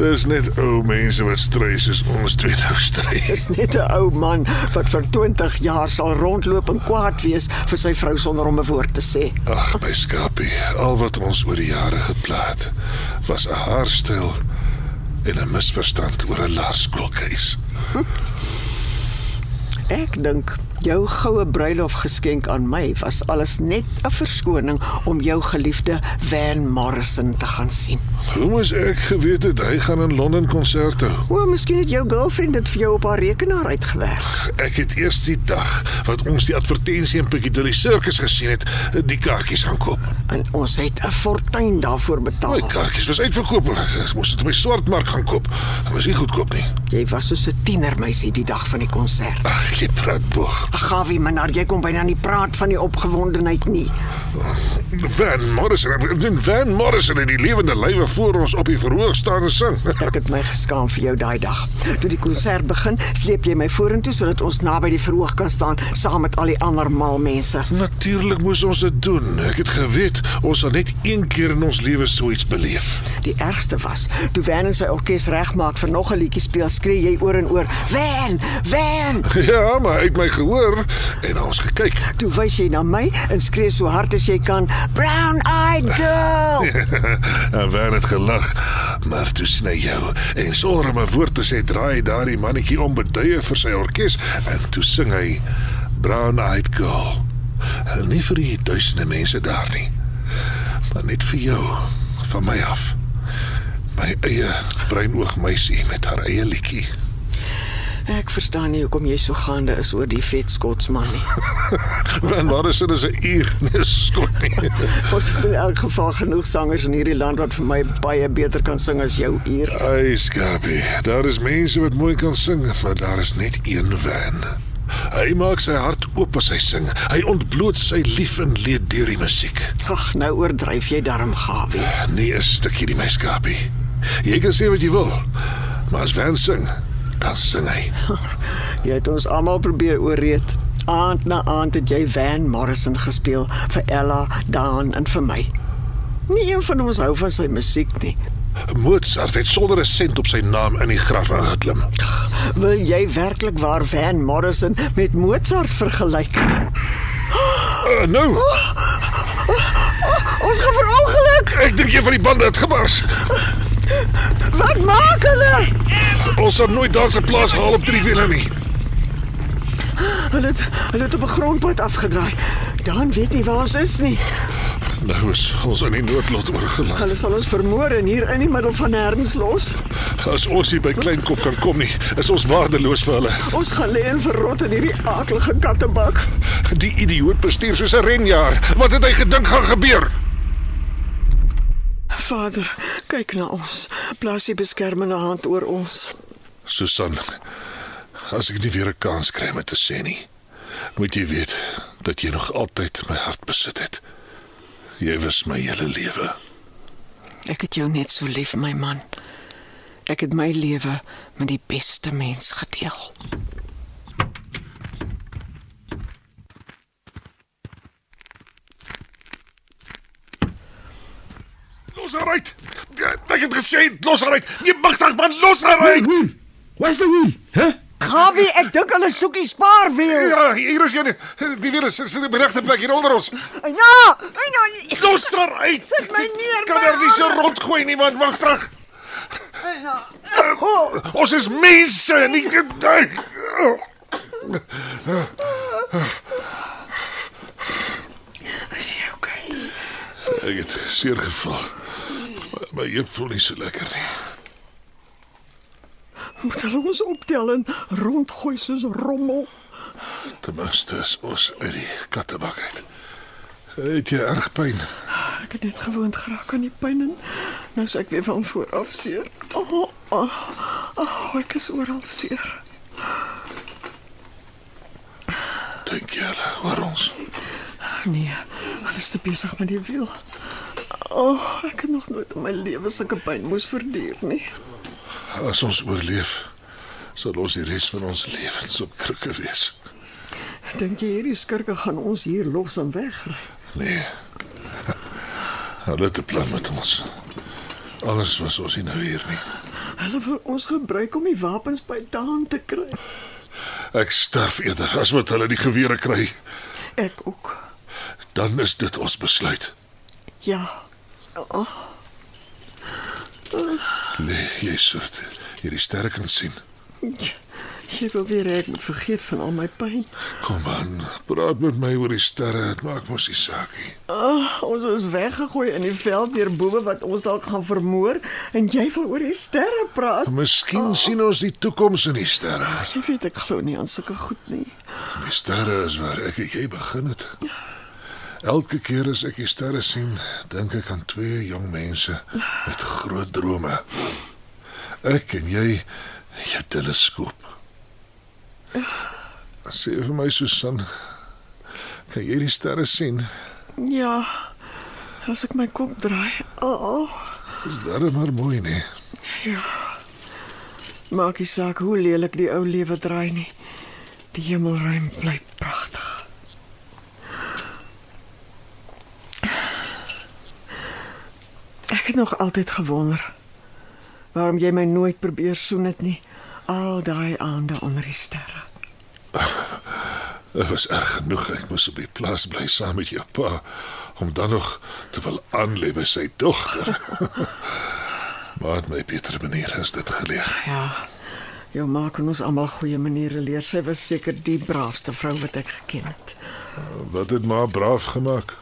S3: Dis net ou mense wat stry soos ons twee nou stry.
S4: Dis net 'n ou man wat vir 20 jaar sal rondloop en kwaad wees vir sy vrou sonder om 'n woord te sê.
S3: Ag, my skapie, al wat ons oor die jare geplaat was 'n haarstyl en 'n misverstand oor 'n laerskoolkeus.
S4: Ek dink jou goue bruilof geskenk aan my was alles net 'n verskoning om jou geliefde Van Morrison te gaan sien.
S3: Hoe moes ek geweet het hy gaan in Londen konserte?
S4: O, miskien het jou girlfriend dit vir jou op haar rekenaar uitgewerk.
S3: Ek het eers die dag wat ons die advertensie in Piccadilly Circus gesien het, die kaartjies gaan koop.
S4: En ons het 'n fortuin daarvoor
S3: Oh My
S4: betaal.
S3: kaartjies was uitverkoop. Ek moes dit op my swartmark gaan koop. Dit was nie goedkoop nie.
S4: Jy was soos 'n tienermeisie die dag van die konsert.
S3: Ag, jy praat boog.
S4: Ag, Gawie, minnaar, jy kom byna nie praat van die opgewondenheid nie.
S3: Van Morrison, Van Morrison in die lewende lywe voor ons op die verhoog staan en sing.
S4: Ek het my geskaam vir jou daai dag. Toe die konsert begin, sleep jy my vorentoe sodat ons naby die verhoog kan staan saam met al die ander mal mense.
S3: Natuurlik moes ons dit doen. Ek het geweet ons sal net een keer in ons lewe so iets beleef.
S4: Die ergste was, toe Van en sy orkes regmaak vir nog 'n liedjie speel, skree jy oor en oor, "Van! Van!"
S3: Ja, maar uit my gehoor en na ons gekyk.
S4: Toe wys jy na my en skree so hard as jy kan, "Brown-eyed girl!"
S3: en Van het gelag, maar toe sien hy jou en sonder om 'n woord te sê draai hy daardie mannetjie om beduie vir sy orkes en toe sing hy Brown Eyed Girl. En nie vir die duisende mense daar nie, maar net vir jou van my af. My eie breinoog meisie met haar eie liedjie.
S4: Ja, Ek verstaan nie hoekom jy so gaande is oor die vet Skotsman nie.
S3: Van Morrison is 'n uur, nie 'n skot nie.
S4: Ons het in elk geval genoeg sangers in hierdie land wat vir my baie beter kan sing as jou uur.
S3: Ai, Skapie, daar is mense wat mooi kan sing, maar daar is net een van. Hy maak sy hart oop as hy sing. Hy ontbloot sy lief en leed deur die musiek.
S4: Ag, nou oordryf jy darm gawe.
S3: Nee, 'n stukkie die my Skapie. Jy kan sê wat jy wil, maar as Van sing, dan sing hy.
S4: Jy het ons almal probeer ooreed. Aand na aand het jy Van Morrison gespeel vir Ella, Dan en vir my. Nie een van ons hou van sy musiek nie.
S3: Mozart het sonder 'n sent op sy naam in die graf ingeklim.
S4: Wil jy werklik waar Van Morrison met Mozart vergelyk?
S3: Uh, nou,
S4: Ons gaan verongeluk.
S3: ek dink een van die bande het gebars.
S4: Wat maak hulle?
S3: Ons sal nooit daar se plaas haal op Trivela nie.
S4: Hulle het, hulle het op 'n grondpad afgedraai. Dan weet nie waar ons is nie.
S3: Nou is ons aan die noodlot oorgelaat.
S4: Hulle sal ons vermoor en hier in die middel van nêrens los.
S3: As ons hier by Kleinkop kan kom nie, is ons waardeloos vir hulle.
S4: Ons gaan lê en verrot in hierdie akelige kattebak.
S3: Die idioot bestuur soos 'n renjaer. Wat het hy gedink gaan gebeur?
S4: Vader, kyk na ons. Plaas die beskermende hand oor ons.
S3: Susan, as ek nie weer 'n kans kry om dit te sê nie, moet jy weet dat jy nog altyd my hart besit het. Jy was my hele lewe.
S4: Ek het jou net so lief, my man. Ek het my lewe met die beste mens gedeel.
S3: Los haar uit. Ja, Ek het gesê, los haar uit. Jy magtig man, los haar uit.
S2: Wiel. Waar's die wiel? Hæ?
S4: Gawie, ek dink hulle soek die spaarwiel.
S3: Ja, hier is jy. Die weer is is in die regte plek hier onder ons.
S4: Ja, en dan
S3: Los haar uit. Sit
S4: my neer,
S3: Kan
S4: my
S3: er nie so rondgooi nie, man. Wag terug.
S4: nou.
S3: Eh, Ons is mense, nie gedink.
S4: is jy okay?
S3: Ek het seer geval. My, my heup voel nie so lekker nie.
S4: Moet hulle ons optel en rondgooi soos rommel?
S3: Ten minste is ons uit die kattebak uit. Het jy erg pyn?
S4: Ek het net gewoond geraak aan die pyn en nou is ek weer van voor af seer. O, oh, oh, oh, ek is oral seer.
S3: Dink jy hulle oor ons?
S4: Nee, hulle is te besig met die wiel. O, oh, ek het nog nooit in my lewe sulke pyn moes verduur nie.
S3: As ons oorleef, sal ons die res van ons lewens op krikke wees.
S4: Dink jy hierdie skurke gaan ons hier los en wegry?
S3: Nee. Hulle het 'n plan met ons. Anders was ons nie nou hier nie.
S4: Hulle wil ons gebruik om die wapens by Daan te kry.
S3: Ek sterf eerder as wat hulle die gewere kry.
S4: Ek ook.
S3: Dan is dit ons besluit.
S4: Ja. Oh,
S3: Lê jy so hierdie sterre kan sien.
S4: Jy wil weer hê ek moet vergeet van al my pyn.
S3: Kom aan, praat met my oor die sterre. Dit maak mos nie saak nie.
S4: Oh, ons is weggegooi in die veld deur boewe wat ons dalk gaan vermoor en jy wil oor die sterre praat.
S3: Miskien sien ons die toekoms in die sterre.
S4: Jy weet ek glo nie aan sulke goed nie.
S3: Die sterre is waar ek en jy begin het. Elke keer as ek die sterre sien, dink ek aan twee jong mense met groot drome. Ek en jy, jou teleskoop. Sê vir my Susan, kan jy die sterre sien?
S4: Ja. As ek my kop draai. Oh, oh.
S3: Dis darem maar mooi nee. nie.
S4: Maak nie saak hoe lelik die ou lewe draai nie. Die hemelruim bly pragtig. Ek het nog altyd gewonder waarom jy my nooit probeer soen het nie. Al daai aande onder die sterre.
S3: Dit was erg genoeg ek moes op die plaas bly saam met jou pa om dan nog te wil aanlê by sy dogter. maar het my beter manier is dit geleer.
S4: Ja. Jou ma kon ons almal goeie maniere leer. Sy was seker die braafste vrou wat ek geken het.
S3: Wat het maar braaf gemaak.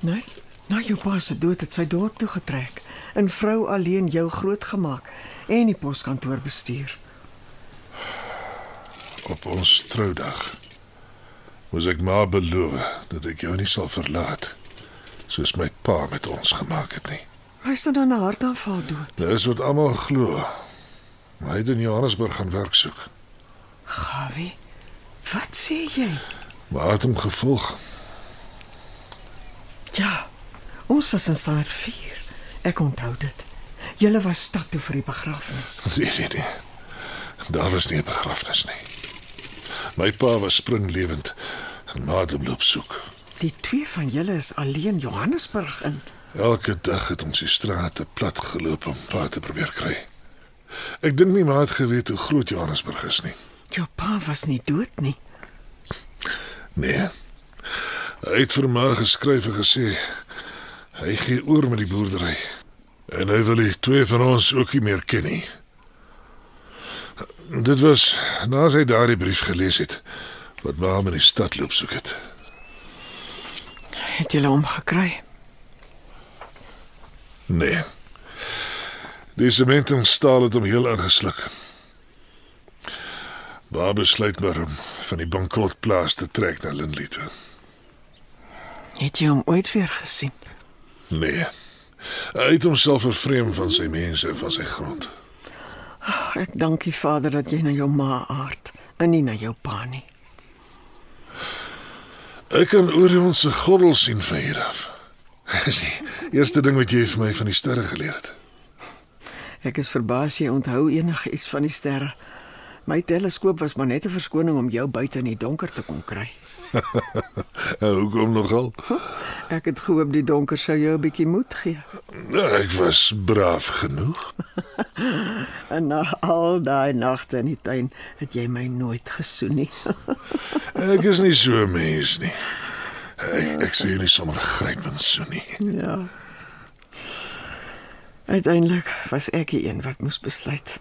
S4: Nee, na jou pa se dood het sy dorp toe getrek en vrou alleen jou grootgemaak en die poskantoor bestuur.
S3: Op ons troudag moes ek maar beloof dat ek jou nie sal verlaat soos my pa met ons gemaak het nie.
S4: Hy's nou dan 'n hartaanval dood.
S3: Dis wat almal glo. Maar hy het in Johannesburg gaan werk soek.
S4: Gawie. Wat sê jy?
S3: Maar hy het hom gevolg.
S4: Ja. Ons was in Saar 4. Ek onthou dit. Julle was stad toe vir die begrafnis.
S3: Nee, nee, nee. Daar was nie 'n begrafnis nie. My pa was springlewend en ma het hom loop soek.
S4: Die twee van julle is alleen Johannesburg in.
S3: Elke dag het ons die strate plat geloop om pa te probeer kry. Ek dink nie ma het geweet hoe groot Johannesburg is nie.
S4: Jou pa was nie dood nie.
S3: Nee. Hy het vir my geskryf en gesê hy gee oor met die boerdery. En hy wil die twee van ons ook nie meer ken nie. Dit was na sy daardie brief gelees het wat ma hom in die stad loop soek het.
S4: Het julle hom gekry?
S3: Nee. Die sement en staal het hom heel ingesluk. Waar besluit maar om van die bankrotplaas te trek na Lindley toe.
S4: Het jy hom ooit weer gesien?
S3: Nee. Hy het homself vervreem van sy mense en van sy grond.
S4: Ag, ek dank die Vader dat jy na jou ma aard en nie na jou pa nie.
S3: Ek kan Orion se goddel sien van hier af. Dis die eerste ding wat jy vir my van die sterre geleer het.
S4: Ek is verbaas jy onthou enige iets van die sterre. My teleskoop was maar net 'n verskoning om jou buite in die donker te kon kry.
S3: En hoekom nogal?
S4: Ek het gehoop die donker sou jou 'n bietjie moed gee.
S3: Nou, ek was braaf genoeg.
S4: En na al daai nagte in die tuin het jy my nooit gesoen nie.
S3: Ek is nie so 'n mens nie. Ek ek sê jy nie sommer gryp en so nie.
S4: ja. Uiteindelik was ek die een wat moes besluit.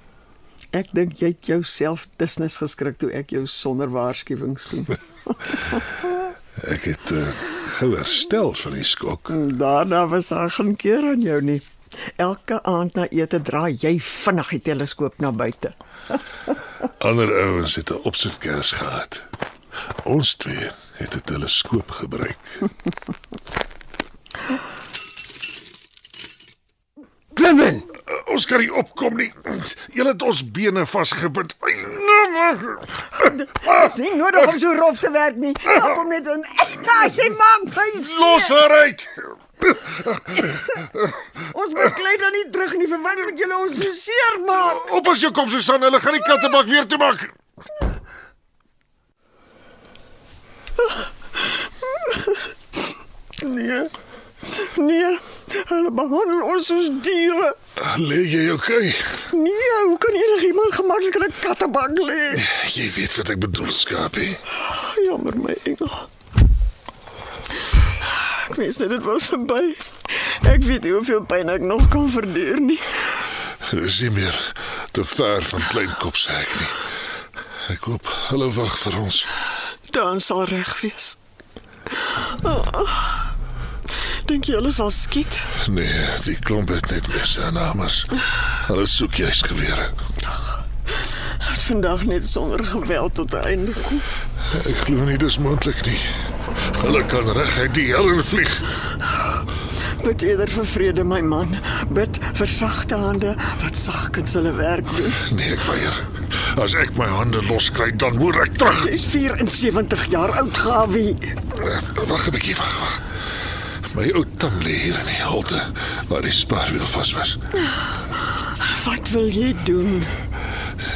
S4: Ek dink jy het jouself dusnis geskrik toe ek jou sonder waarskuwing soen.
S3: Ek het uh, gou herstel van die skok.
S4: En Daarna was daar geen keer aan jou nie. Elke aand na ete draai jy vinnig die teleskoop na buite.
S3: Ander ouens het 'n opsitkers gehad. Ons twee het 'n teleskoop gebruik.
S2: Klim in.
S3: Uh, ons kan nie opkom nie. Julle het ons bene vasgebind. Ai, nou maar.
S2: Dis nie nodig om so rof te werk nie. Help hom net in. Ja, jy maak my
S3: Los haar uit.
S2: Ons beklei dan nie terug nie vir wat moet julle ons so seer maak?
S3: Op as jy kom Susan, hulle gaan die kattebak weer toe maak.
S2: Nee. Nee. Hulle behandel ons soos diere.
S3: Lê jy okay?
S2: Nee, hoe kan enigiemand gemaklik in 'n kattebank lê?
S3: Jy weet wat ek bedoel, skapie.
S2: Jammer my engel. Ek wens net dit was verby. Ek weet nie hoeveel pyn ek nog kan verduur nie.
S3: Dis nie meer te ver van Kleinkop se hek nie. Ek hoop hulle wag vir ons.
S2: Dan sal reg wees. Ah. Dink jy hulle sal skiet?
S3: Nee, die klomp het net mis aan namens. Hulle soek juis gewere.
S2: Laat vandag net sonder geweld tot 'n einde kom.
S3: Ek glo nie dis moontlik nie. Hulle kan reguit die hel in vlieg.
S2: Bid eerder vir vrede my man. Bid vir sagte hande wat sagkens hulle werk doen.
S3: Nee, ek weier. As ek my hande loskry, dan moet ek terug.
S2: Jy's 74 jaar oud, Gawie.
S3: Eh, Wag 'n bietjie, wag, wag. My ou tang lê hier in die holte waar die spaarwiel vas was.
S4: Wat wil jy doen?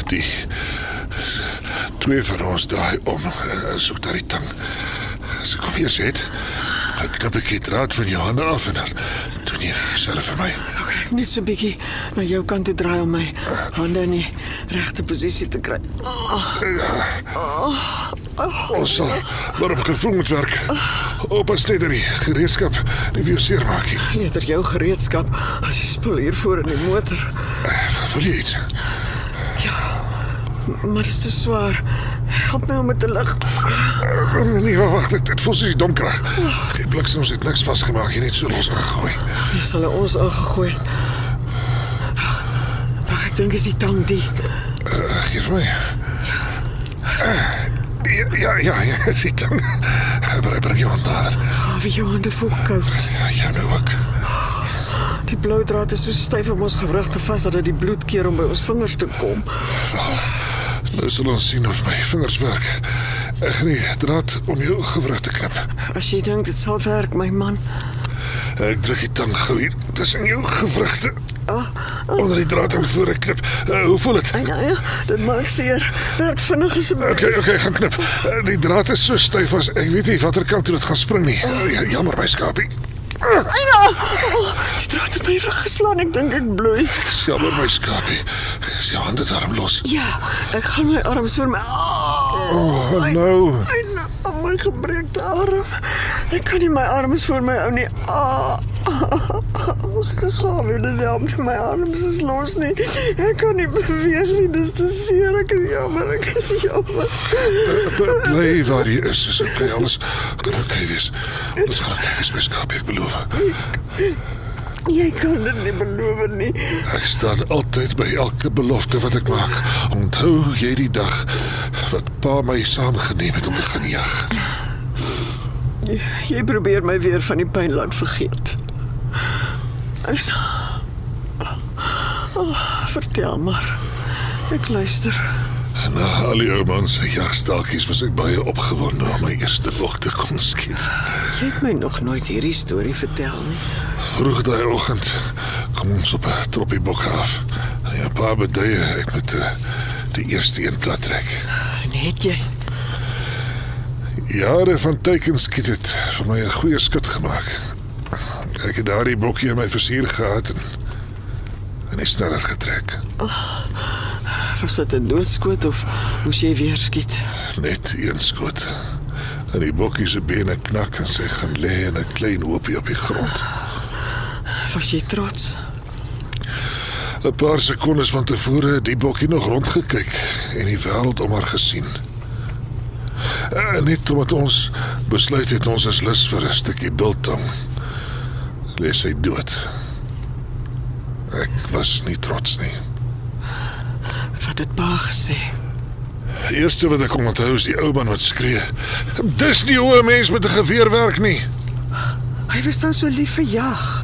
S3: Die twee van ons draai om eh, en soek na die tang. As ek kom hier sit, dan knip ek die draad van jou hande af en dan doen jy self vir my.
S4: Nou Ek net so 'n bietjie na jou kant toe draai om my hande in die regte posisie te kry.
S3: Ja. Ons sal maar op gevoel moet werk. Oppas net dat die gereedskap nie vir jou seer maak nie.
S4: Eerder er jou gereedskap as die spul hier voor in die motor.
S3: Voel Eh, jy iets?
S4: Maar dit is te swaar. Help my om dit te lig.
S3: Nee, nee, wag, dit, dit voel soos die donker. Die bliksems het niks vasgemaak, jy net so los gegooi.
S4: Dis hulle ons aangegooi. het. Wag. Wag, ek dink is die tang die.
S3: Uh, geef my. Uh, ja, ja, ja, ja, sit dan. Maar bring jou hand nader.
S4: Gawe jou hande voel koud.
S3: Ja, jy nou ook.
S4: Die blou draad is so styf om ons gewrigte vas dat dit die bloed keer om by ons vingers te kom.
S3: Wel, nou sal ons sien of my vingers werk. Ek gaan die draad om jou gewrig te knip.
S4: As jy dink dit sal werk, my man.
S3: Ek Eh, druk die tang gou hier tussen jou gewrigte. Onder die draad en voor ek knip. Uh, hoe voel dit?
S4: En Ah, ja, dit maak seer. Werk vinnig asseblief.
S3: Okay, okay, gaan knip. Eh, Die draad is so styf as ek weet nie watter kant toe dit gaan spring nie. Eh, Jammer my skapie. Eh,
S4: Ja. Oh, die draad het my rug geslaan. Ek dink ek bloei.
S3: Jammer my skapie. Is jou hande daarom los?
S4: Ja, ek gaan my arms vir my. Oh,
S3: Oh, nou.
S4: en oh, my gebreekte arm. Ek kan nie my arms voor my ou nie. Ah. Gegaan weer help my my arms is los nie. Ek kan nie beweeg nie. Dis te seer. Ek is jammer. Ek is jammer.
S3: Bly waar jy is. Is okay alles. Gaan okay wees. Ons gaan okay wees my skapie, ek beloof.
S4: Jy kan dit nie beloof nie.
S3: Ek staan altyd by elke belofte wat ek maak. Onthou jy die dag wat pa my saamgeneem het om te gaan jag?
S4: Jy, jy probeer my weer van die pyn laat vergeet. En, oh, vertel maar. Ek luister.
S3: Na al die ou mans se jagstalkies was ek baie opgewonde om my eerste bok te kon skiet.
S4: Jy het my nog nooit hierdie storie vertel nie.
S3: Vroeg daai oggend kom ons op 'n troppie bokke af. Ja, pa beduie ek moet eh, die eerste een plat trek.
S4: Net jy.
S3: Jare van teikenskiet het vir my 'n goeie skut gemaak. Ek het daardie bokkie in my versier gehad en en is sneller getrek.
S4: Was dit 'n doodskoot of moes jy weer skiet?
S3: Net een skoot. En die bokkie se bene knak en sy gaan lê in 'n klein hoopie op die grond.
S4: Was jy trots?
S3: 'n Paar sekondes van tevore het die bokkie nog rondgekyk en die wêreld om haar gesien. En net omdat ons besluit het ons is lus vir 'n stukkie biltong, lê sy dood. Ek was nie trots nie.
S4: Wat het pa gesê?
S3: Die eerste wat ek onthou is die ou man wat skree: "Dis nie hoe 'n mens met 'n geweer werk nie."
S4: Hy was dan so lief vir jag.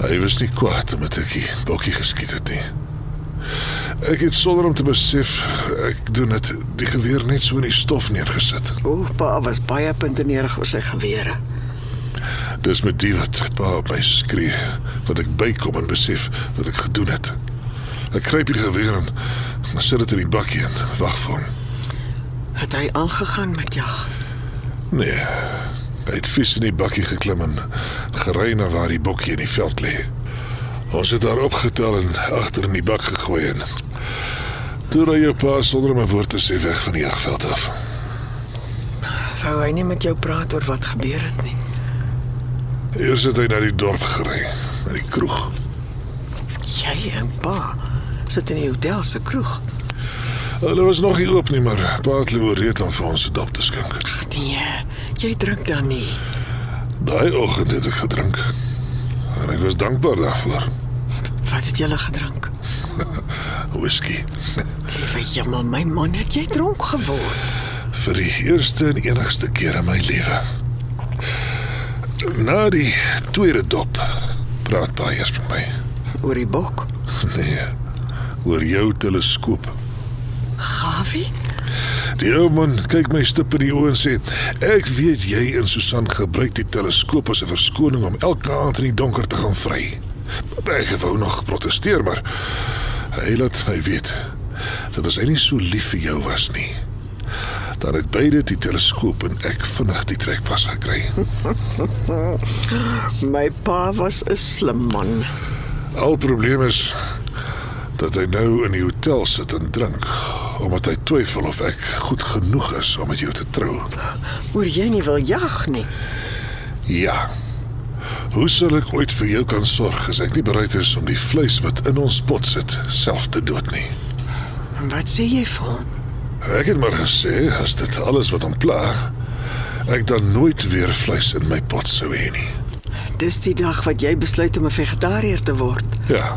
S3: Hy was nie kwaad omdat ek die bokkie geskiet het nie. Ek het sonder om te besef ek doen dit die geweer net so in die stof neergesit.
S4: O, pa er was baie puntenerig oor sy gewere.
S3: Dis met die wat pa op my skree wat ek bykom en besef wat ek gedoen het. Ek gryp die geweer en en sit dit in die bakkie en wag vir hom.
S4: Het hy aangegaan met jag?
S3: Nee. Hy het vis in die bakkie geklim en gery na waar die bokkie in die veld lê. Ons het haar opgetel en agter in die bak gegooi en toe ry jou pa sonder om 'n woord te sê weg van die jagveld af.
S4: Wou hy nie met jou praat oor wat gebeur het nie.
S3: Eers het hy na die dorp gery, na die kroeg.
S4: Jy en pa sit in die hotel se kroeg.
S3: Hulle was nog nie oop nie, maar pa het hulle oorreed om vir ons 'n dop te skink.
S4: Nee, jy drink dan nie.
S3: Daai oggend het ek gedrink. En ek was dankbaar daarvoor.
S4: Wat het jy gedrink?
S3: Whisky.
S4: Liewe jemmel, my man, het jy dronk geword?
S3: Vir die eerste en enigste keer in my lewe. Na die tweede dop praat baie eers met my.
S4: Oor die bok.
S3: Nee. Oor jou teleskoop.
S4: Gawie?
S3: Die ou Ja, man kyk my stip in die oë en sê: "Ek weet jy en Susan gebruik die teleskoop as 'n verskoning om elke aand in die donker te gaan vry." Ek wou nog proteseer, maar hy laat my weet dat as hy nie so lief vir jou was nie, dan het beide die teleskoop en ek vinnig die trekpas gekry.
S2: My pa was 'n slim man.
S3: Al probleem is dat hy nou in die hotel sit en drink omdat hy twyfel of ek goed genoeg is om met jou te trou.
S2: Oor jy nie wil jag nie.
S3: Ja. Hoe sal ek ooit vir jou kan sorg as ek nie bereid is om die vleis wat in ons pot sit self te dood nie?
S2: Wat sê jy vir hom?
S3: Ek het maar gesê as dit alles wat hom pla, ek dan nooit weer vleis in my pot sou hê nie.
S2: Dis die dag wat jy besluit om 'n vegetariër te word.
S3: Ja.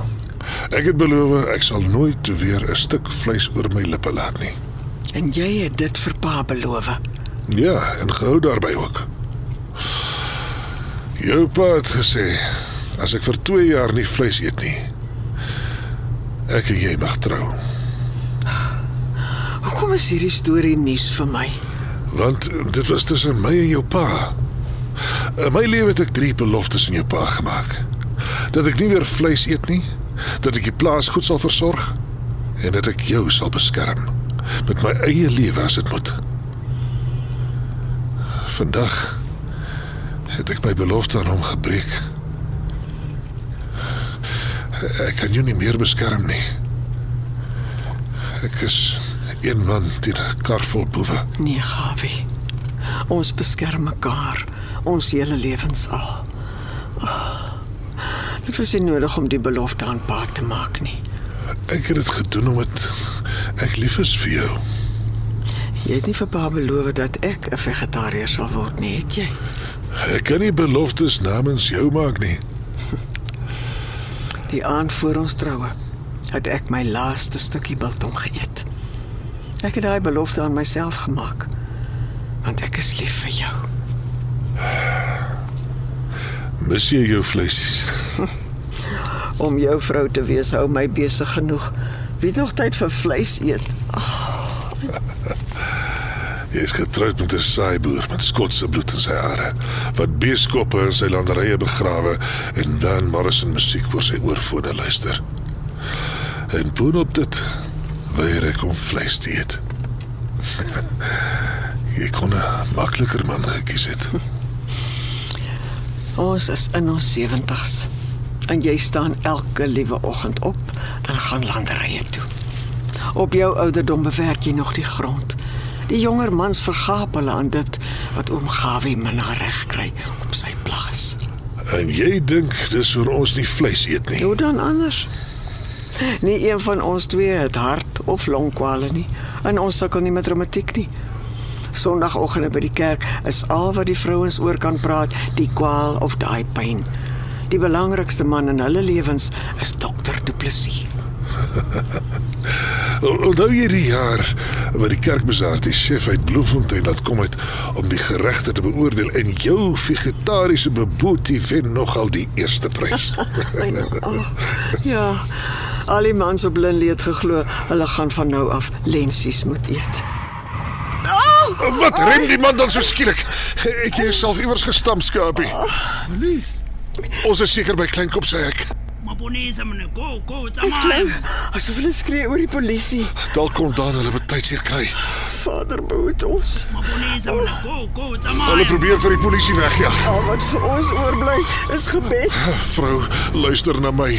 S3: Ek het beloof ek sal nooit weer 'n stuk vleis oor my lippe laat nie.
S2: En jy het dit vir pa beloof.
S3: Ja, en gehou daarby ook. Jou pa het gesê as ek vir 2 jaar nie vleis eet nie, ek en jy mag trou,
S2: Hoekom is hierdie storie nuus vir my?
S3: want eh, dit was tussen my en jou pa. In my lewe het ek drie beloftes aan jou pa gemaak. Dat ek nie weer vleis eet nie, dat ek die plaas goed sal versorg en dat ek jou sal beskerm met my eie lewe as dit moet. Vandag het ek my belofte aan hom gebreek. Ek kan jou nie meer beskerm nie. Ek is een man teen 'n kar vol boewe.
S2: Nee, Gawie. Ons beskerm mekaar ons hele lewens al. Ah, Dit was nie nodig om die belofte aan pa te maak nie.
S3: Ek het dit gedoen omdat ek lief is vir jou.
S2: Jy het nie vir pa beloof dat ek 'n vegetariër sal word nie, het jy?
S3: Ek kan nie beloftes namens jou maak nie.
S2: Die aand voor ons troue het ek my laaste stukkie biltong geëet. Ek het daai belofte aan myself gemaak. Want ek is lief vir jou.
S3: Mis jy jou vleisies?
S2: Om jou vrou te wees hou my besig genoeg. Wie het nog tyd vir vleis eet?
S3: Hy is getroud met 'n saaiboer met Skotse bloed in sy are, wat beeskoppe in sy landerye begrawe en dan Morrison musiek oor sy oorfone luister. En boonop dit weier ek om vleis te eet. Jy kon 'n makliker man gekies het.
S2: Ons is in ons 70's. En jy staan elke liewe oggend op en gaan landerye toe. Op jou ouderdom bewerk jy nog die grond. Die jonger mans vergaap hulle aan dit wat oom Gawie minna reg kry op sy plaas.
S3: En jy dink dis vir ons nie vleis eet nie.
S2: Hoe dan anders? Nie een van ons twee het hart of longkwale nie en ons sukkel nie met reumatiek nie. Sondagoggende by die kerk is al wat die vrouens oor kan praat, die kwaal of daai pyn. Die belangrikste man in hulle lewens is dokter Du Plessis.
S3: O- Onthou jy die jaar wat die kerkbesaar die chef uit Bloemfontein laat kom het om die geregte te beoordeel en jou vegetariese beboetie wen nogal die eerste prys.
S2: My nou. Oh, ja. Al die mans op Lindley het geglo hulle gaan van nou af lensies moet eet. Oh,
S3: Wat rem die man dan so skielik? Het jy jouself iewers gestamp, skapie? Ons is seker by Kleinkop se hek.
S5: Mabonisa mne, go, go,
S2: Dit klink
S5: tsamai.
S2: asof hulle skree oor die polisie.
S3: Dalk kom dan hulle betyds hier kry.
S2: Vader behoed ons.
S5: Mabonisa mne, go, go,
S3: Hulle
S5: tsamai.
S3: probeer vir die polisie ja. wegjaag.
S2: Al wat vir ons oorbly is gebed.
S3: Vrou, luister na my.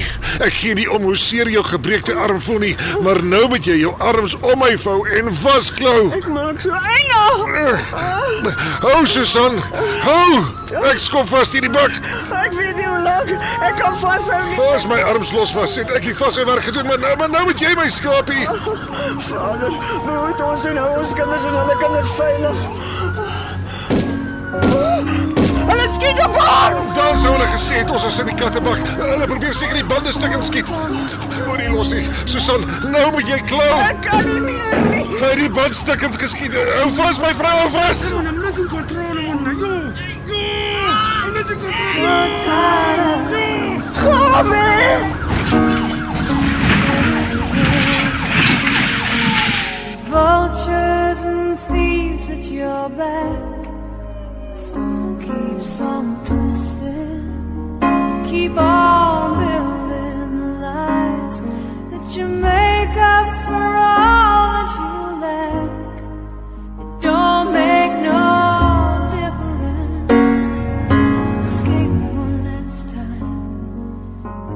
S3: Ek gee nie om hoe seer jou gebreekte arm voel nie, maar nou moet jy jou arms om my vou en vasklou.
S2: Ek maak so eina.
S3: Hou Susan, hou! Ek skop vas hierdie bak.
S2: Ek weet nie hoe lank ek kan vashou nie.
S3: Los my arms los vas. Het ek het vashou werk gedoen, maar nou, maar nou moet jy my skapie.
S2: Vader, behoed ons en hou ons kinders en hulle kinders veilig. Hulle skiet op ons.
S3: Dan sou hulle gesê het ons is in die kattebak. Hulle probeer seker die bande stukken skiet. Moenie los nie. Susan, nou moet jy klou.
S2: Ek kan nie meer nie.
S3: Hy het die band stukken geskiet. Hou vas my vrou, hou vas.
S5: I'm not in control, mna, yo. Yo, I'm not in control.
S2: Kom hier.
S7: Vultures and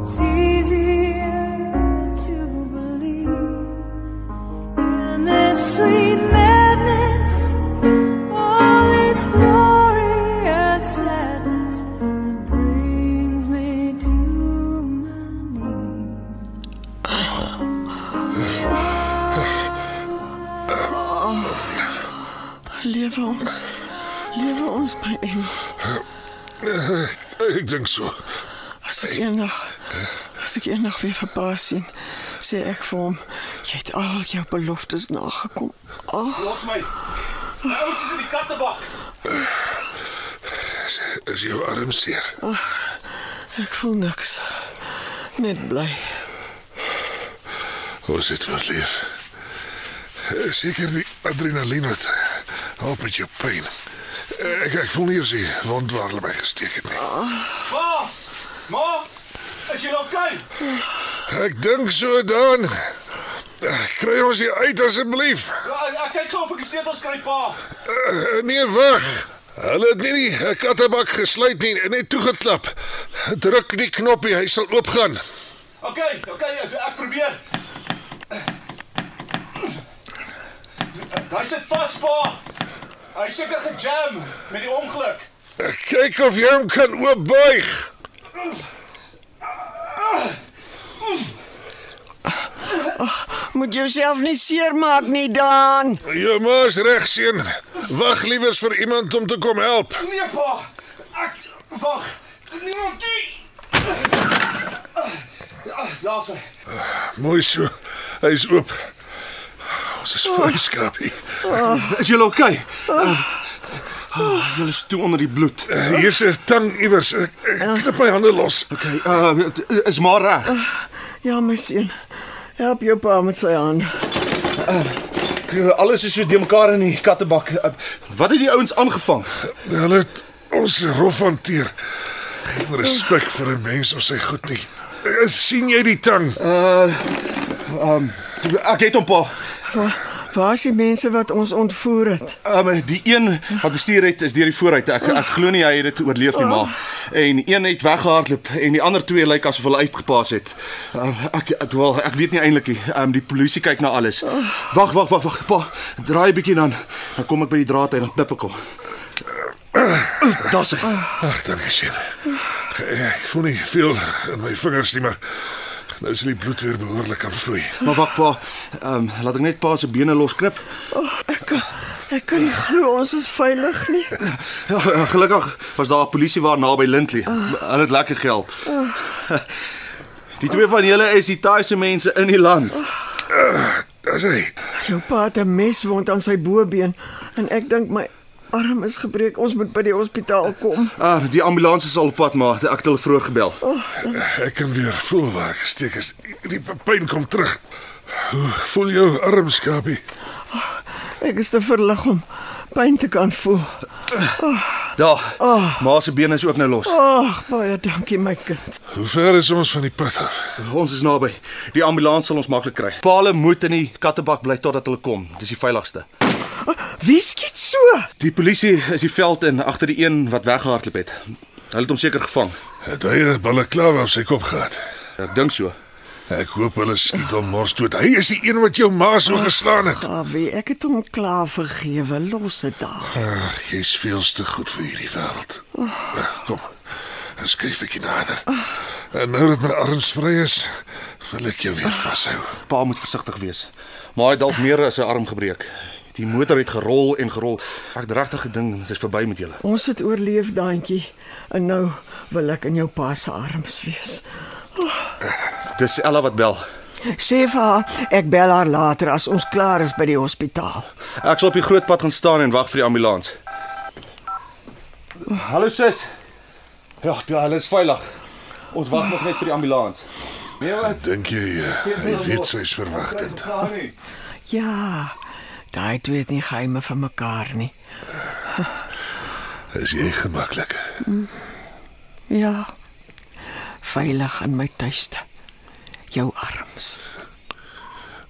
S7: It's easier to believe in this sweet madness, all this glorious sadness that brings me to my knees.
S2: Lewe ons. Lewe ons my engel.
S3: Ek dink so.
S2: As ek eendag as ek eendag weer verbaas sien, sê ek vir hom, jy het al jou beloftes nagekom.
S6: Los my. Nou is dit die kattebak.
S3: Is, is jou arm seer?
S2: Ek voel niks. Net bly.
S3: Hoe is dit maar Oh, lief? Eh, Seker die adrenalien wat help met jou pyn. Eh, Ek ek voel nie eens die wond waar hulle my gesteek het nie.
S6: Ma! Ma! Is jy okay?
S3: Ek dink so dan. Eh, Kry ons hier uit asseblief.
S6: Ja, Ek, ek kyk gou of ek die sleutels kry, pa.
S3: Eh, eh, Nee weg. Hulle het nie die eh, kattebak gesluit nie, net toegeklap. Druk die knoppie, hy sal oopgaan.
S6: Okay, okay, ek, ek probeer. Hy sit vas, pa. Hy is seker gejam met die ongeluk.
S3: Eh, Kyk of jy hom kan oopbuig.
S2: Moet jouself nie seermaak nie, Dan.
S3: Jou ma's reg seun. Wag liewers vir iemand om te kom help.
S6: Nee, pa. Ek wag. Niemand toe. Ja, Daar's hy.
S3: Mooi so. Hy is oop. Ons is vry, Skrapie.
S6: Is jy okay? Jy ah, is toe onder die bloed. Eh,
S3: Uh, Hier's 'n tang iewers. Ek ek knip my hande los.
S6: Okay, uh is maar reg.
S2: Ja, my seun. Help jou pa met sy hand.
S6: Alles is so de mekaar in die kattebak. Uh, Wat het die ouens aangevang?
S3: Hulle het ons rof hanteer. Geen respek vir 'n mens of sy goed nie. Uh, sien jy die tang?
S6: Ek het hom pa.
S2: Waar is die mense wat ons ontvoer het?
S6: Um, die een wat bestuur het is deur die vooruit. Ek ek glo nie hy het dit oorleef nie maar. En een het weggehardloop en die ander twee lyk asof hulle uitgepas het. Um, ek ek wel ek weet nie eintlik nie. Um, die polisie kyk na alles. Wag, wag, wag, wag. Pa, draai bietjie dan. Dan kom ek by die draad uit en dan knip ek hom. Daar's hy.
S3: Ag, dankie seun. Ek voel nie veel in my vingers nie, maar nou is die bloed weer behoorlik aan vloei.
S6: Maar wag pa. Ehm um, laat ek net pa se bene losknip.
S2: Oh, Ek kan, ek kan nie glo ons is veilig nie.
S6: Ja, gelukkig was daar 'n polisiewaar naby Lindley. Hulle het lekker geld. Die twee van julle is die Thaise mense in die land.
S3: Dis hy.
S2: Jou pa het 'n meswond aan sy bobeen en ek dink my arm is gebreek. Ons moet by die hospitaal kom.
S6: Ah, die ambulans is al op pad maar ek het hulle vroeg gebel.
S3: Ek kan weer voel waar ek gesteek is. Die pyn kom terug. Hoe voel jou arm, Skrapie?
S2: Ek is te verlig om pyn te kan voel.
S6: Daar. Ma se bene is ook nou los.
S2: Ag, baie dankie my kind.
S3: Hoe ver is ons van die pad af?
S6: Ons is naby. Die ambulans sal ons maklik kry. Paal moet in die kattebak bly totdat hulle kom. Dis die veiligigste.
S2: Wie skiet so?
S6: Die polisie is die veld in agter die een wat weggehardloop het. Hulle het hom seker gevang.
S3: Het hy 'n balaklava op sy kop gehad?
S6: Ek dink so.
S3: Ek hoop hulle skiet hom mors dood. Hy is die een wat jou ma so geslaan het.
S2: Gawie, ek het hom klaar vergewe. Los dit daar.
S3: Ag, jy's veel te goed vir hierdie wêreld. Nou, Kom. Ons kyk bietjie nader. En nou dat my arms vry is, wil ek jou weer vashou.
S6: Pa moet versigtig wees. Maar hy het dalk meer as sy arm gebreek. Die motor het gerol en gerol. Ek het regtig gedink dit is verby met julle.
S2: Ons het oorleef, daantjie. En nou wil ek in jou pa se arms wees.
S6: Dis Ella wat bel.
S2: Sê vir haar ek bel haar later as ons klaar is by die hospitaal.
S6: Ek sal op die groot pad gaan staan en wag vir die ambulans. Hallo sis. Ja, die hulle is veilig. Ons wag nog net vir die ambulans. Nee, wat?
S3: Dink jy eh, hy weet sy's verwagtend?
S2: Ja. Daai twee het nie geheime van mekaar nie.
S3: Is jy gemaklik?
S2: Ja. Veilig in my tuiste. Jou arms.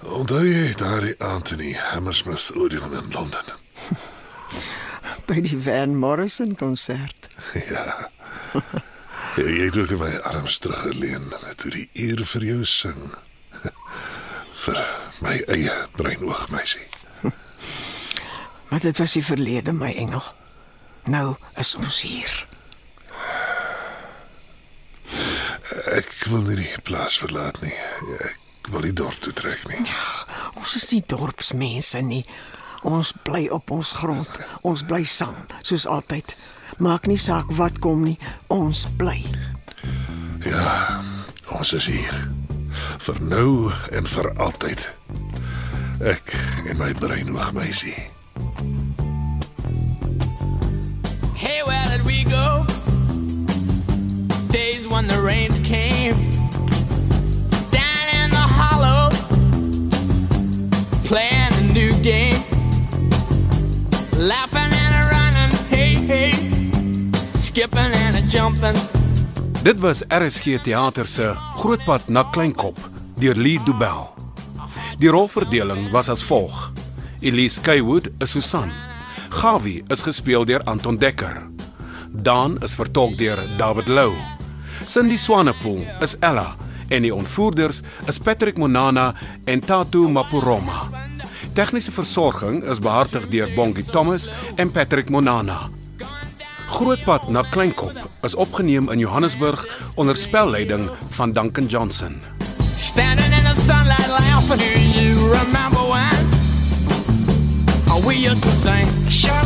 S3: Onthou jy daardie Anthony Hammersmith Odeon in Londen?
S2: By die Van Morrison konsert.
S3: Ja. Jy het ook in my arms teruggeleun toe die uur vir jou sing. vir my eie breinoog meisie.
S2: Maar dit was die verlede, my engel. Nou is ons hier.
S3: Ek wil nie die plaas verlaat nie. Ek wil nie dorp toe trek nie.
S2: Ons is nie dorpsmense nie. Ons bly op ons grond. Ons bly saam, soos altyd. Maak nie saak wat kom nie, ons bly.
S3: Ja, ons is hier. Vir nou en vir altyd. Ek en my breinoog meisie.
S8: Hey, where did we go? Days when the rains came. Down in the hollow, playing a new game. Laughing and a running, hey, hey. Skipping and a jumping.
S1: Dit was RSG Theater se Grootpad na Kleinkop deur Lee Du Bell. Die rolverdeling was as volg: Elise Kaywood is Susan. Gawie is gespeel deur Anton Dekker. Dan is vertolk deur David Lou. Cindy Swanepoel is Ella en die ontvoerders is Patrick Monana en Tatu Mapuroma. Tegniese versorging is behartig deur Bongie Thomas en Patrick Monana. Grootpad na Kleinkop is opgeneem in Johannesburg onder spelleiding van Duncan Johnson.
S8: Standing in the sunlight laughing. Do you remember when we used to sing? Sure.